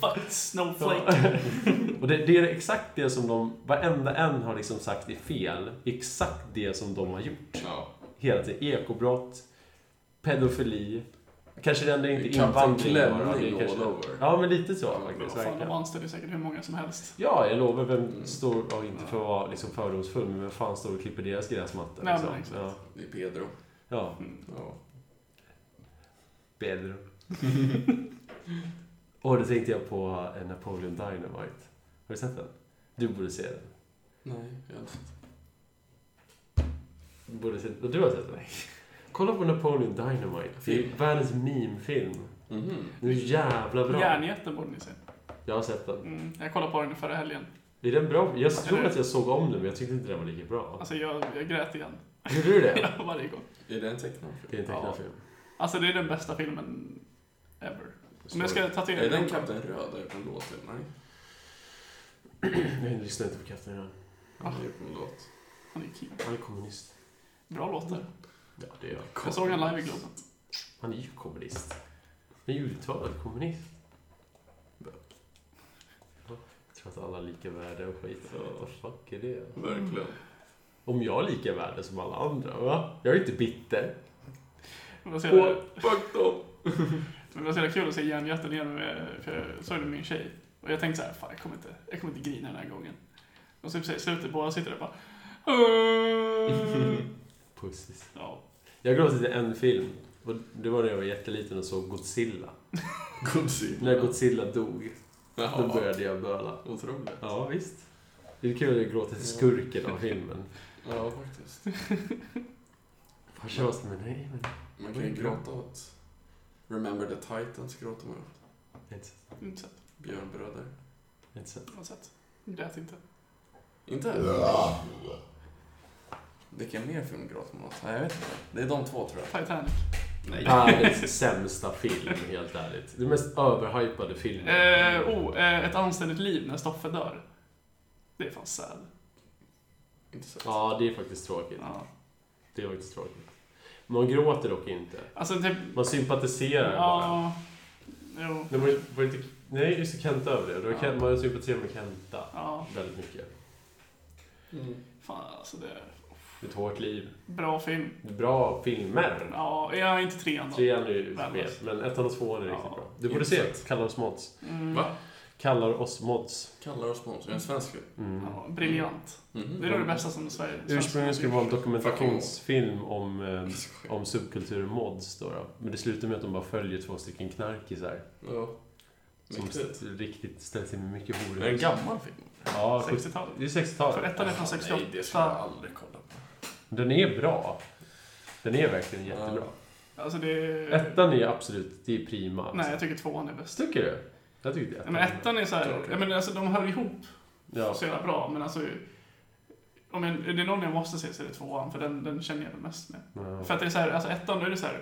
S1: Fuck snowflake.
S4: Ja. och det, det är exakt det som de, varenda en har liksom sagt är fel. Exakt det som de har gjort.
S2: Ja.
S4: hela tiden. Ekobrott, pedofili, kanske det ändå inte
S2: Kapten
S4: invandring. bara, det är
S2: Klänning all
S4: kanske-
S2: over.
S4: Ja, men lite så
S2: Ja,
S4: faktiskt.
S1: Fan, de
S4: Verkligen.
S1: anställer säkert hur många som helst.
S4: Ja, jag lovar. Vem
S2: Mm.
S4: står, ja, inte för att vara liksom fördomsfull, men vem fan står och klipper deras gräsmatta?
S1: Nej,
S4: Liksom?
S1: men exakt.
S4: Ja,
S2: Det är Pedro.
S4: ja,
S1: Mm.
S2: Ja.
S1: (laughs)
S4: Pedro. och då tänkte jag på eh, Napoleon Dynamite. Har du sett den? Du borde se den.
S2: Nej, jag har inte sett.
S4: Du borde se den. Du har sett den? Kolla på Napoleon Dynamite. Det är
S2: Film.
S4: världens meme-film.
S2: Mhm.
S4: Den är jävla bra.
S1: Järnjätten borde ni se.
S4: Jag har sett den.
S1: Mm. Jag kollade på den förra helgen.
S4: Är den bra? Jag tror
S1: Eller-
S4: att jag såg om den, men jag tyckte inte den var lika bra.
S1: Alltså jag, jag grät igen.
S4: Gjorde du det?
S1: (laughs) Ja, Varje gång.
S2: Är det en tecknad film?
S4: Det är en tecknad
S1: Ja.
S4: film.
S1: Alltså det är den bästa filmen ever.
S2: Så-
S1: Om jag ska tatuera
S2: Är den Kapten Röd? Är det en låt? Nej,
S4: Jag lyssnar inte på Kapten Röd.
S2: han
S1: Ah.
S2: har gjort en låt.
S1: Han är king.
S4: Han är kommunist.
S1: Bra låtar.
S4: Ja, det är jag.
S1: Jag såg han live i Globen.
S4: Han är ju kommunist. Han är ju uttalad kommunist. Ja, Jag tror att alla är lika värda och skit.
S2: Ja.
S4: What the fuck är det?
S2: Verkligen.
S4: Om jag är lika värde som alla andra, va? Jag är inte bitter.
S1: Men det var så jävla-
S2: Åh, fuck dem!
S1: men det var så jävla kul att se Järnjätten igen, med, eh, för jag såg det med min tjej. Och jag tänkte så här, fan jag kommer inte, jag kommer inte grina den här gången. Och så i slutet, båda sitter där och bara... "Åh."
S4: Pussis.
S1: ja.
S4: Jag gråter till en film. Och Det var när jag var jätteliten och såg Godzilla.
S2: Godzilla.
S4: När Godzilla dog, då
S2: Jaha,
S4: började jag böla.
S2: otroligt.
S4: Ja, visst. Det är kul att jag gråter till skurken av filmen.
S2: Ja, faktiskt.
S4: Farsan var så, men nej, men...
S2: Man kan ju gråta åt... Remember the Titans gråter man åt.
S4: Inte sett.
S1: Inte sett.
S2: Björnbröder.
S4: Inte sett.
S1: Har sett. Grät inte.
S2: Inte? Vilken mer film gråter man åt? Nej, jag vet inte. Det är de två, tror jag.
S1: Titanic. (laughs)
S4: Världens sämsta film, helt ärligt. Den mest överhypade filmen.
S1: Eh, oh, eh, ett anständigt liv när Stoffe dör. Det är fan sad.
S2: Inte sett.
S4: Ja, det är faktiskt tråkigt.
S1: Ja.
S4: Det är faktiskt tråkigt. Man gråter dock inte.
S1: Alltså typ...
S4: Man sympatiserar bara.
S1: Ja. Jo.
S4: Det var, var inte, nej, just det, Kenta över det. det var,
S1: Ja.
S4: Ken- Man sympatiserar med Kenta
S1: Ja.
S4: väldigt mycket.
S2: Mm.
S1: Fan alltså det är...
S4: Ett hårt liv.
S1: Bra film.
S4: Bra filmer.
S1: Ja, jag är inte trean då.
S4: Trean är ju med,
S1: Värdelös.
S4: men ettan och tvåan är
S1: Ja.
S4: riktigt bra. Du borde se Kallar oss mods.
S1: Mm.
S2: Va?
S4: Kallar oss mods.
S2: Kallar oss sponsor. En svensk film.
S4: Mm.
S1: Ja, briljant.
S2: Mhm.
S4: Mm-hmm.
S1: Det är nog det bästa som Sverige...
S4: Ursprungligen skulle det vara en
S1: Svensk-
S4: dokumentationsfilm om, eh,
S2: Så sjukt.
S4: om subkulturen mods då, då. Men det slutar med att de bara följer två stycken knarkisar.
S2: Ja.
S4: Som
S2: Mäktigt.
S4: st- riktigt ställer till med mycket
S2: Det är en
S4: horor.
S2: gammal film.
S4: Ja, sjut-
S1: 60-talet.
S4: det är
S1: För
S4: 60-talet.
S1: ettan är från
S2: Nej, det skulle jag
S1: 68.
S2: aldrig kolla på.
S4: Den är bra. Den är verkligen
S2: Ja.
S4: jättebra.
S1: Alltså det är...
S4: Ettan är absolut, det är prima. alltså.
S1: Nej, jag tycker tvåan är bäst.
S4: Tycker du? Jag tycker det.
S1: Nej, Men ettan är så här,
S2: Klart.
S1: jag menar, alltså, de hör ihop
S4: Ja.
S1: så jävla bra, men alltså... Om jag, är det någon jag måste se så är det tvåan, för den, den känner jag mest med.
S4: Ja.
S1: För att det är så här, alltså ettan, då är det så här...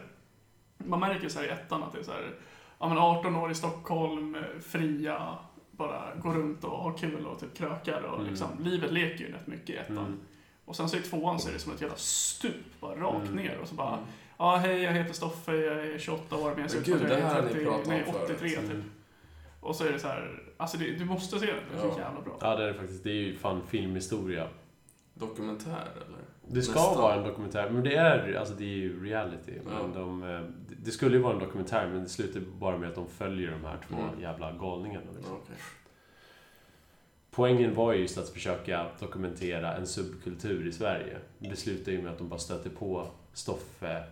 S1: Man märker så här i ettan att det är så här... Ja men 18 år i Stockholm, eh, fria, bara gå runt och ha kul och typ krökar och
S4: Mm.
S1: liksom, livet leker ju rätt mycket i ettan.
S4: Mm.
S1: Och sen så i tvåan så är det som ett jävla stup, bara rakt
S4: Mm.
S1: ner och så bara
S2: Mm.
S1: Ja, hej, jag heter Stoffe, jag är 28 år, men jag ser ut
S2: Men
S1: som att
S2: gud,
S1: jag
S2: det här
S1: är
S2: har ni
S1: 30,
S2: pratat om
S1: nej,
S2: förut.
S1: 83 typ.
S4: Mm.
S1: Och så är det så här, alltså det, du måste se den, den är
S2: Ja.
S1: så jävla bra.
S4: Ja, det är faktiskt. Det är ju fan filmhistoria.
S2: Dokumentär, eller?
S4: Det ska
S2: Nästan.
S4: vara en dokumentär, men det är, alltså det är ju reality.
S2: Ja.
S4: Men de, eh, det- det skulle ju vara en dokumentär, men det slutar bara med att de följer de här två
S2: Mm.
S4: jävla galningarna. Liksom.
S2: Ja, okej.
S4: Poängen var ju just att försöka dokumentera en subkultur i Sverige. Men Det slutar ju med att de bara stöter på Stoffe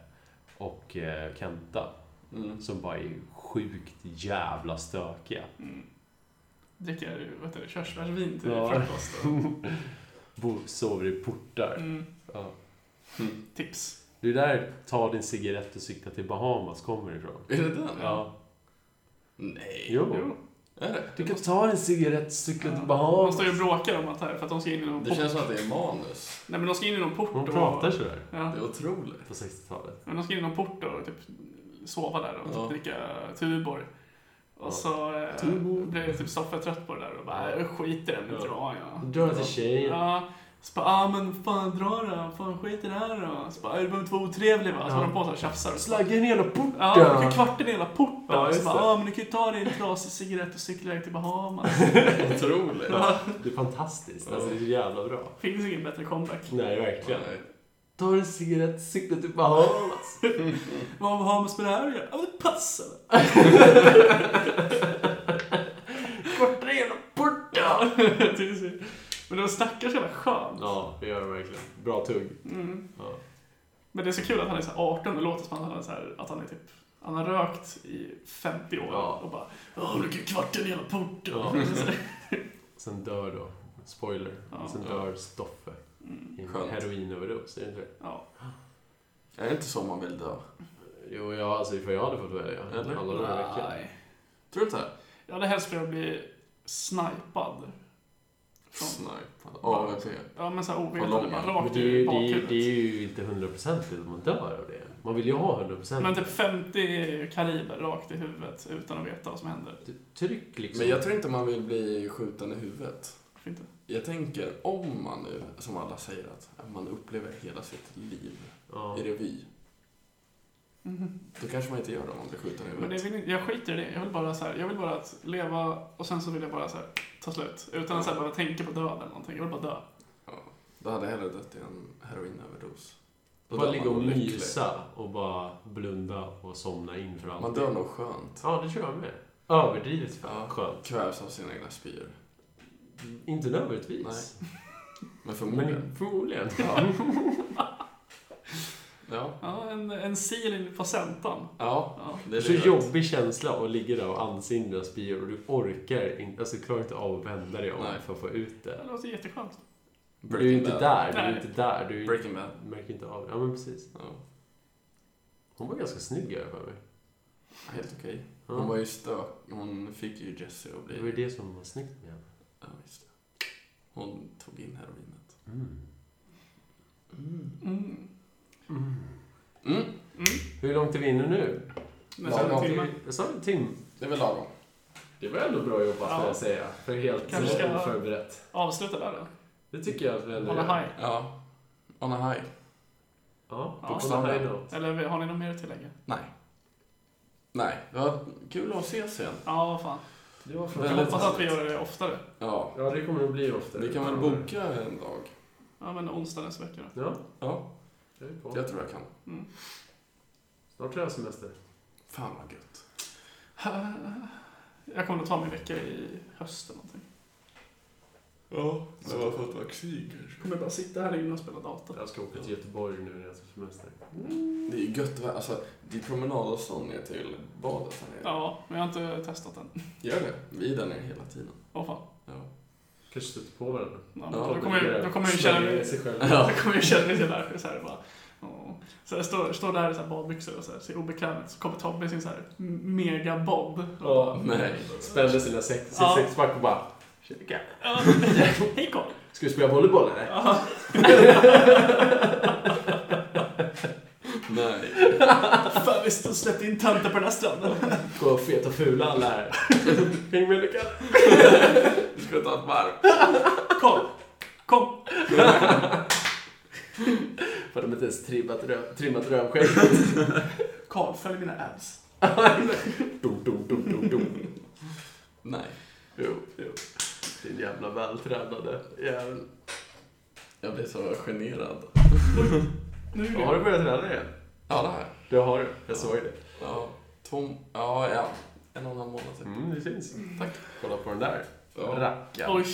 S4: och eh, Kenta,
S2: Mm.
S4: som bara är sjukt jävla stökiga.
S1: Mm. Dricker, vad heter det, körsbärsvin till
S4: Ja.
S1: frukost.
S2: (laughs)
S1: och-
S4: Bo- Sover i portar.
S1: Mm.
S4: Ja.
S2: Mm.
S1: Tips.
S4: Det är där Ta din cigarett och sikta till Bahamas kommer ifrån.
S2: Är det den?
S4: Ja.
S2: Nej.
S4: Jo.
S2: Är det?
S4: Du kan ta en cigarett, cykla till
S1: De
S4: Bahamas.
S1: står ju och bråkar om att här, för att de ska in i någon
S2: Det
S1: port.
S2: känns som att det är manus.
S1: Nej men de ska in i någon port
S4: Hon
S1: och...
S4: pratar sådär
S1: Ja.
S2: Det är otroligt.
S4: på 60-talet.
S1: Men de ska in i någon port och typ sova där och
S2: Ja.
S1: typ dricka Tuborg.
S4: Ja.
S1: Och så eh,
S4: Tuborg.
S1: blev typ Stoffe trött på det där och bara, "Äh, skit i det, nu
S4: Ja.
S1: drar jag.
S4: Dra till tjejen.
S1: Ja, så bara, ah, men fan dra då, fan skit i det här då. Så bara, "Äh, du behöver inte vara otrevlig va. Så
S4: Ja.
S1: håller de på så här och tjafsar. och så bara,
S4: Slagga ner hela porten.
S1: Ja, du kan kvarta ner hela porten. och
S4: Ja,
S1: så
S4: just
S1: bara,
S4: det.
S1: ah, men du kan ju ta dig en trasig cigarett och cykla iväg till
S4: (laughs)
S1: Bahamas.
S2: Otroligt.
S4: Det är fantastiskt. Alltså, det är så jävla bra.
S1: Finns ingen bättre comeback.
S4: Nej, verkligen.
S2: Nej.
S5: tar en cigarett, cyklar till Bahamas.
S1: Vad har man med det här att göra? Ja, men det passar väl.
S5: Korta jävla
S1: (laughs)
S5: porten!
S1: Det är Typ så- Men de snackar så jävla skönt.
S5: Ja, det gör det verkligen. Bra tugg.
S1: Mm.
S5: Ja.
S1: Men det är så kul att han är så här 18 och låter som att han är, så här, att han är typ han har rökt i 50 år
S5: Ja.
S1: och bara Åh, nu kan kvarten i hela porten. (laughs)
S5: Ja.
S4: Sen dör då, spoiler,
S1: Ja. Mm.
S4: sen dör Stoffe i en
S2: Skönt.
S4: heroinöverdos. Är det inte det?
S1: ja.
S2: Är det inte så man vill dö?
S4: Jo, ja, alltså ifall jag hade fått välja.
S2: Eller?
S4: Alla de här veckorna.
S2: Tror du inte det?
S1: Jag hade helst velat bli snipad. Från,
S2: Snipe. AWP.
S1: ja men såhär ovetande,
S2: lången.
S1: bara
S4: Men
S1: rakt
S4: det är, ju,
S1: i
S4: det, är, ju-
S1: bakhuvudet.
S4: det är ju inte hundraprocentigt att man dör av det. Man vill ju ha hundraprocentigt.
S1: Men typ 50 kaliber rakt i huvudet utan att veta vad som händer.
S4: Tryck liksom.
S2: Men jag tror inte man vill bli skjuten i huvudet.
S1: Varför inte?
S2: Jag tänker om man nu, som alla säger, att man upplever hela sitt liv
S4: ja.
S2: i revy.
S4: Mm-hmm.
S1: Mhm.
S2: Då kanske man inte gör det om man blir skjuten i
S1: Men det
S2: huvudet.
S1: vill, inte- jag skiter i det. Jag vill bara så här, jag vill bara att leva och sen så vill jag bara så här, ta slut. Utan att så här, behöva tänka på döden eller någonting. Jag vill bara dö.
S2: Då hade jag hellre dött i en heroinöverdos. Då
S4: Bara
S2: dör
S4: ligga
S2: man
S4: och
S2: olycklig.
S4: mysa och bara blunda och somna in för allt.
S2: Man dör nog skönt.
S4: Ja, det tror jag med. Överdrivet
S2: Ja.
S4: skönt.
S2: Kvävs av sina egna spyor.
S4: Inte nödvändigtvis.
S2: Men
S4: Men
S2: förmodligen.
S4: förmodligen. (laughs)
S2: Ja. ja.
S1: Ja, en, en sil in på sentan.
S2: Ja.
S1: Ja.
S2: Det är
S4: Så
S2: livet.
S4: jobbig känsla att ligga där och ansinda spyor och du orkar inte, alltså du klarar inte av att vända dig om
S2: Nej.
S4: för att få ut
S1: Det
S4: det.
S1: låter jätteskönt.
S4: Du är ju inte
S2: Bad.
S4: där, du är
S1: Nej.
S4: inte där, du är-
S2: Breaking Bad.
S4: märker inte av Ja men precis.
S2: Ja.
S4: Hon var ganska snygg har jag för mig.
S2: Helt okej.
S4: Ja.
S2: Hon var ju stök. Hon fick ju Jesse att
S4: Det var ju
S2: bli...
S4: det som var snyggt med henne.
S2: Ja, just det. Hon tog in heroinet.
S1: Mm.
S2: Mm.
S1: Mm.
S4: Hur långt är vi inne nu?
S1: Nästan
S2: Ja,
S1: en timme.
S4: Jag sa en timme.
S2: Det är väl lagom.
S4: Det var ändå bra jobbat
S1: Ja.
S4: får jag säga. För helt eh,
S1: Kanske ska-
S4: oförberett.
S1: Avsluta där då.
S4: Det tycker jag att vi ändå
S1: Hålla
S4: gör.
S1: haj.
S2: Ja. On a high.
S4: Ja,
S1: Ja.
S4: bokstavligen.
S1: Eller har ni något mer att tillägga?
S2: Nej. Nej. Det var kul att ses igen.
S1: Ja, fan.
S4: Det var
S1: Jag
S2: Väldigt
S1: hoppas att vi
S2: härligt.
S1: gör det oftare.
S2: Ja.
S4: Ja, det kommer det bli ofta.
S2: Vi kan väl boka en dag?
S1: Ja, men onsdag nästa vecka då.
S4: Ja.
S2: Ja.
S4: Jag är på.
S2: Jag tror jag kan.
S1: Mm.
S4: Snart har jag semester.
S2: Fan vad gött.
S1: Jag kommer nog ta min vecka i höst eller någonting.
S2: Ja. Det var för att vaccin kanske.
S1: Jag kommer bara sitta här inne och spela dator.
S4: Jag ska åka till Göteborg nu när jag tar semester.
S2: Det är ju gött väder. Alltså, det är promenadavstånd ner till badet här nere.
S1: Ja, men jag har inte testat den.
S2: Gör det. Vi är där nere hela tiden.
S1: Åh fan.
S2: Ja.
S4: Kanske stöter på varandra.
S1: Ja,
S2: Ja,
S1: då kommer jag, då kommer jag ju känna mig...
S4: sig själv.
S1: Då kommer jag ju känna mig så där. Så här, bara, åh. så jag står, står där i så här badbyxor och så här, ser obekväm ut. Så kommer Tobbe i sin så här megabob.
S4: Ja.
S2: Nej.
S4: Spänner sina sex, sitt
S1: Ja.
S4: sexpack och bara... Tjena.
S1: Ja, Hej Carl!
S4: Ska vi spela volleyboll eller?
S1: Ja.
S2: Nej.
S1: Fan, vi stod och släppte in tanter på den här stranden.
S4: Gå och feta och fula
S1: (laughs)
S4: alla här. Häng med Lukas.
S2: Vi ska ta ett varv.
S1: Carl, kom!
S4: För de har inte ens trimmat, röv, trimmat rövskägg.
S1: (laughs) Carl, följ mina abs.
S4: dum, dum, dum, dum, dum.
S2: Nej.
S4: Jo, jo. Din jävla vältränade jävel.
S2: Jag blir så generad.
S1: Nu är
S4: Ja, Har du börjat träna igen?
S2: Ja, det här.
S4: Det har du. Jag såg det.
S2: Ja. Tom. Ja, ja. En och en halv månad typ.
S4: Mm, det syns.
S2: Tack.
S4: Kolla på den där.
S2: Ja.
S4: Rackaren.
S1: Oj.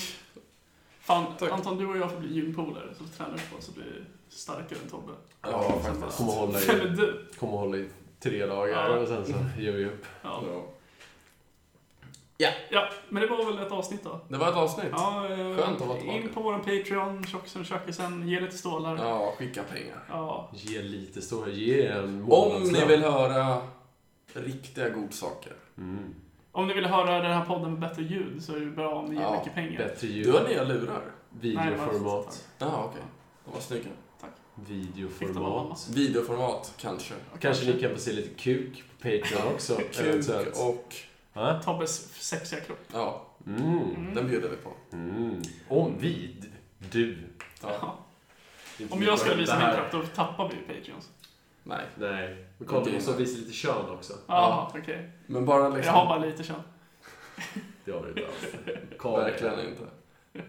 S1: Fan,
S2: Tack.
S1: Anton, du och jag får bli gympolare som tränar upp oss och blir starkare än Tobbe.
S2: Ja,
S1: Sen
S2: faktiskt.
S4: Kommer
S1: bara,
S4: hålla i.
S1: "Vem är du?
S4: Kommer hålla i tre dagar
S1: Ja.
S4: och sen så ger vi upp.
S1: Ja.
S2: Ja.
S1: ja, men det var väl ett avsnitt då.
S2: Det var ett avsnitt.
S1: Ja, eh,
S2: Skönt att vara tillbaka.
S1: In på vår Patreon, Tjockisen och Tjockisen, ge lite stålar. Ja.
S2: Ja, skicka pengar.
S4: Ge lite stora, ge en
S2: Om
S4: månadslön.
S2: ni vill höra riktiga godsaker.
S4: Mm.
S1: Om ni vill höra den här podden med bättre ljud så är det bra om ni ger
S2: Ja,
S1: mycket pengar.
S4: Bättre ljud.
S2: Du har nya lurar.
S1: Nej, det var
S4: Videoformat.
S1: inte
S2: Ja, okej. De var snygga.
S1: Fick de av mamma?
S4: Videoformat.
S2: Videoformat, kanske.
S1: Ja,
S4: Kanske ni kan få se lite kuk på
S1: (laughs)
S4: Patreon också.
S2: Kuk och...
S4: Va?
S1: Tobbes sexiga kropp.
S2: Ja,
S4: Mm.
S2: den bjuder vi på.
S4: Mm. Om vi... Du.
S2: Ja.
S1: Ja. Om jag skulle visa min kropp, då tappar vi ju Patreons.
S2: Nej.
S4: Nej. Men kolla, du måste visa lite kön också.
S1: Jaha, okej.
S2: Men bara
S1: Jag
S2: liksom...
S1: har bara lite kön.
S4: (laughs) Det har du inte alls. Karl.
S2: Verkligen inte.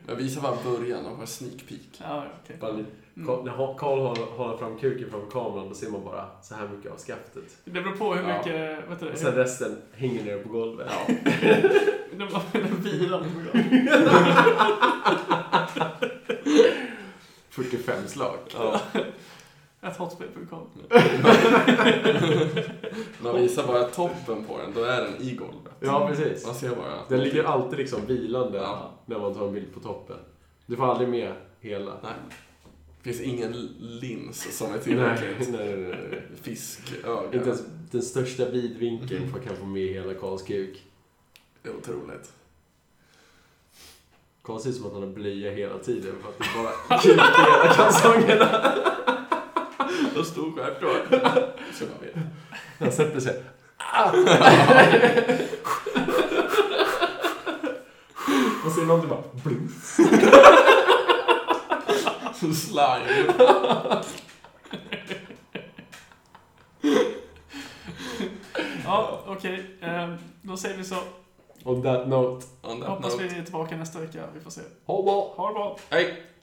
S2: Jag visar bara början av en sneak peek.
S1: Ja, ja, okej.
S4: Bara lite-
S1: Mm.
S4: Ka- När Ho- Karl håller, håller fram kuken framför kameran då ser man bara så här mycket av skaftet.
S1: Det beror på hur
S2: Ja.
S1: mycket, vet du,
S4: Och sen resten hänger ner på golvet. (laughs)
S2: Ja.
S1: hur, den, den vilar på golvet.
S2: 45 slag. Ja.
S1: Att hotspel.com.
S2: Man visar bara toppen på den, då är den i golvet.
S4: Ja, precis.
S2: Man ser bara.
S4: Den ligger alltid liksom vilande
S2: Ja.
S4: när man tar en bild på toppen. Du får aldrig med hela.
S2: Nej. Det finns ingen lins som är
S4: nej,
S2: tillräckligt.
S4: nej, nej, nej.
S2: Fisköga.
S4: Inte ens den största vidvinkeln får kan få med hela Karls kuk.
S2: Det är otroligt.
S4: Karl ser ut som att han har blöja hela tiden för att det (laughs) bara kuk i hela kalsongerna.
S2: Och stor (laughs) stjärtår. Så man vet.
S4: Han sätter sig. Och ser någonting bara blunk.
S2: Slime.
S1: Ja, okej. Eh, Då säger vi så.
S4: On that note.
S2: On that
S1: Hoppas
S2: note.
S1: vi är tillbaka nästa vecka. Vi får se.
S4: Ho, ho.
S1: Ha det bra!
S2: Hej!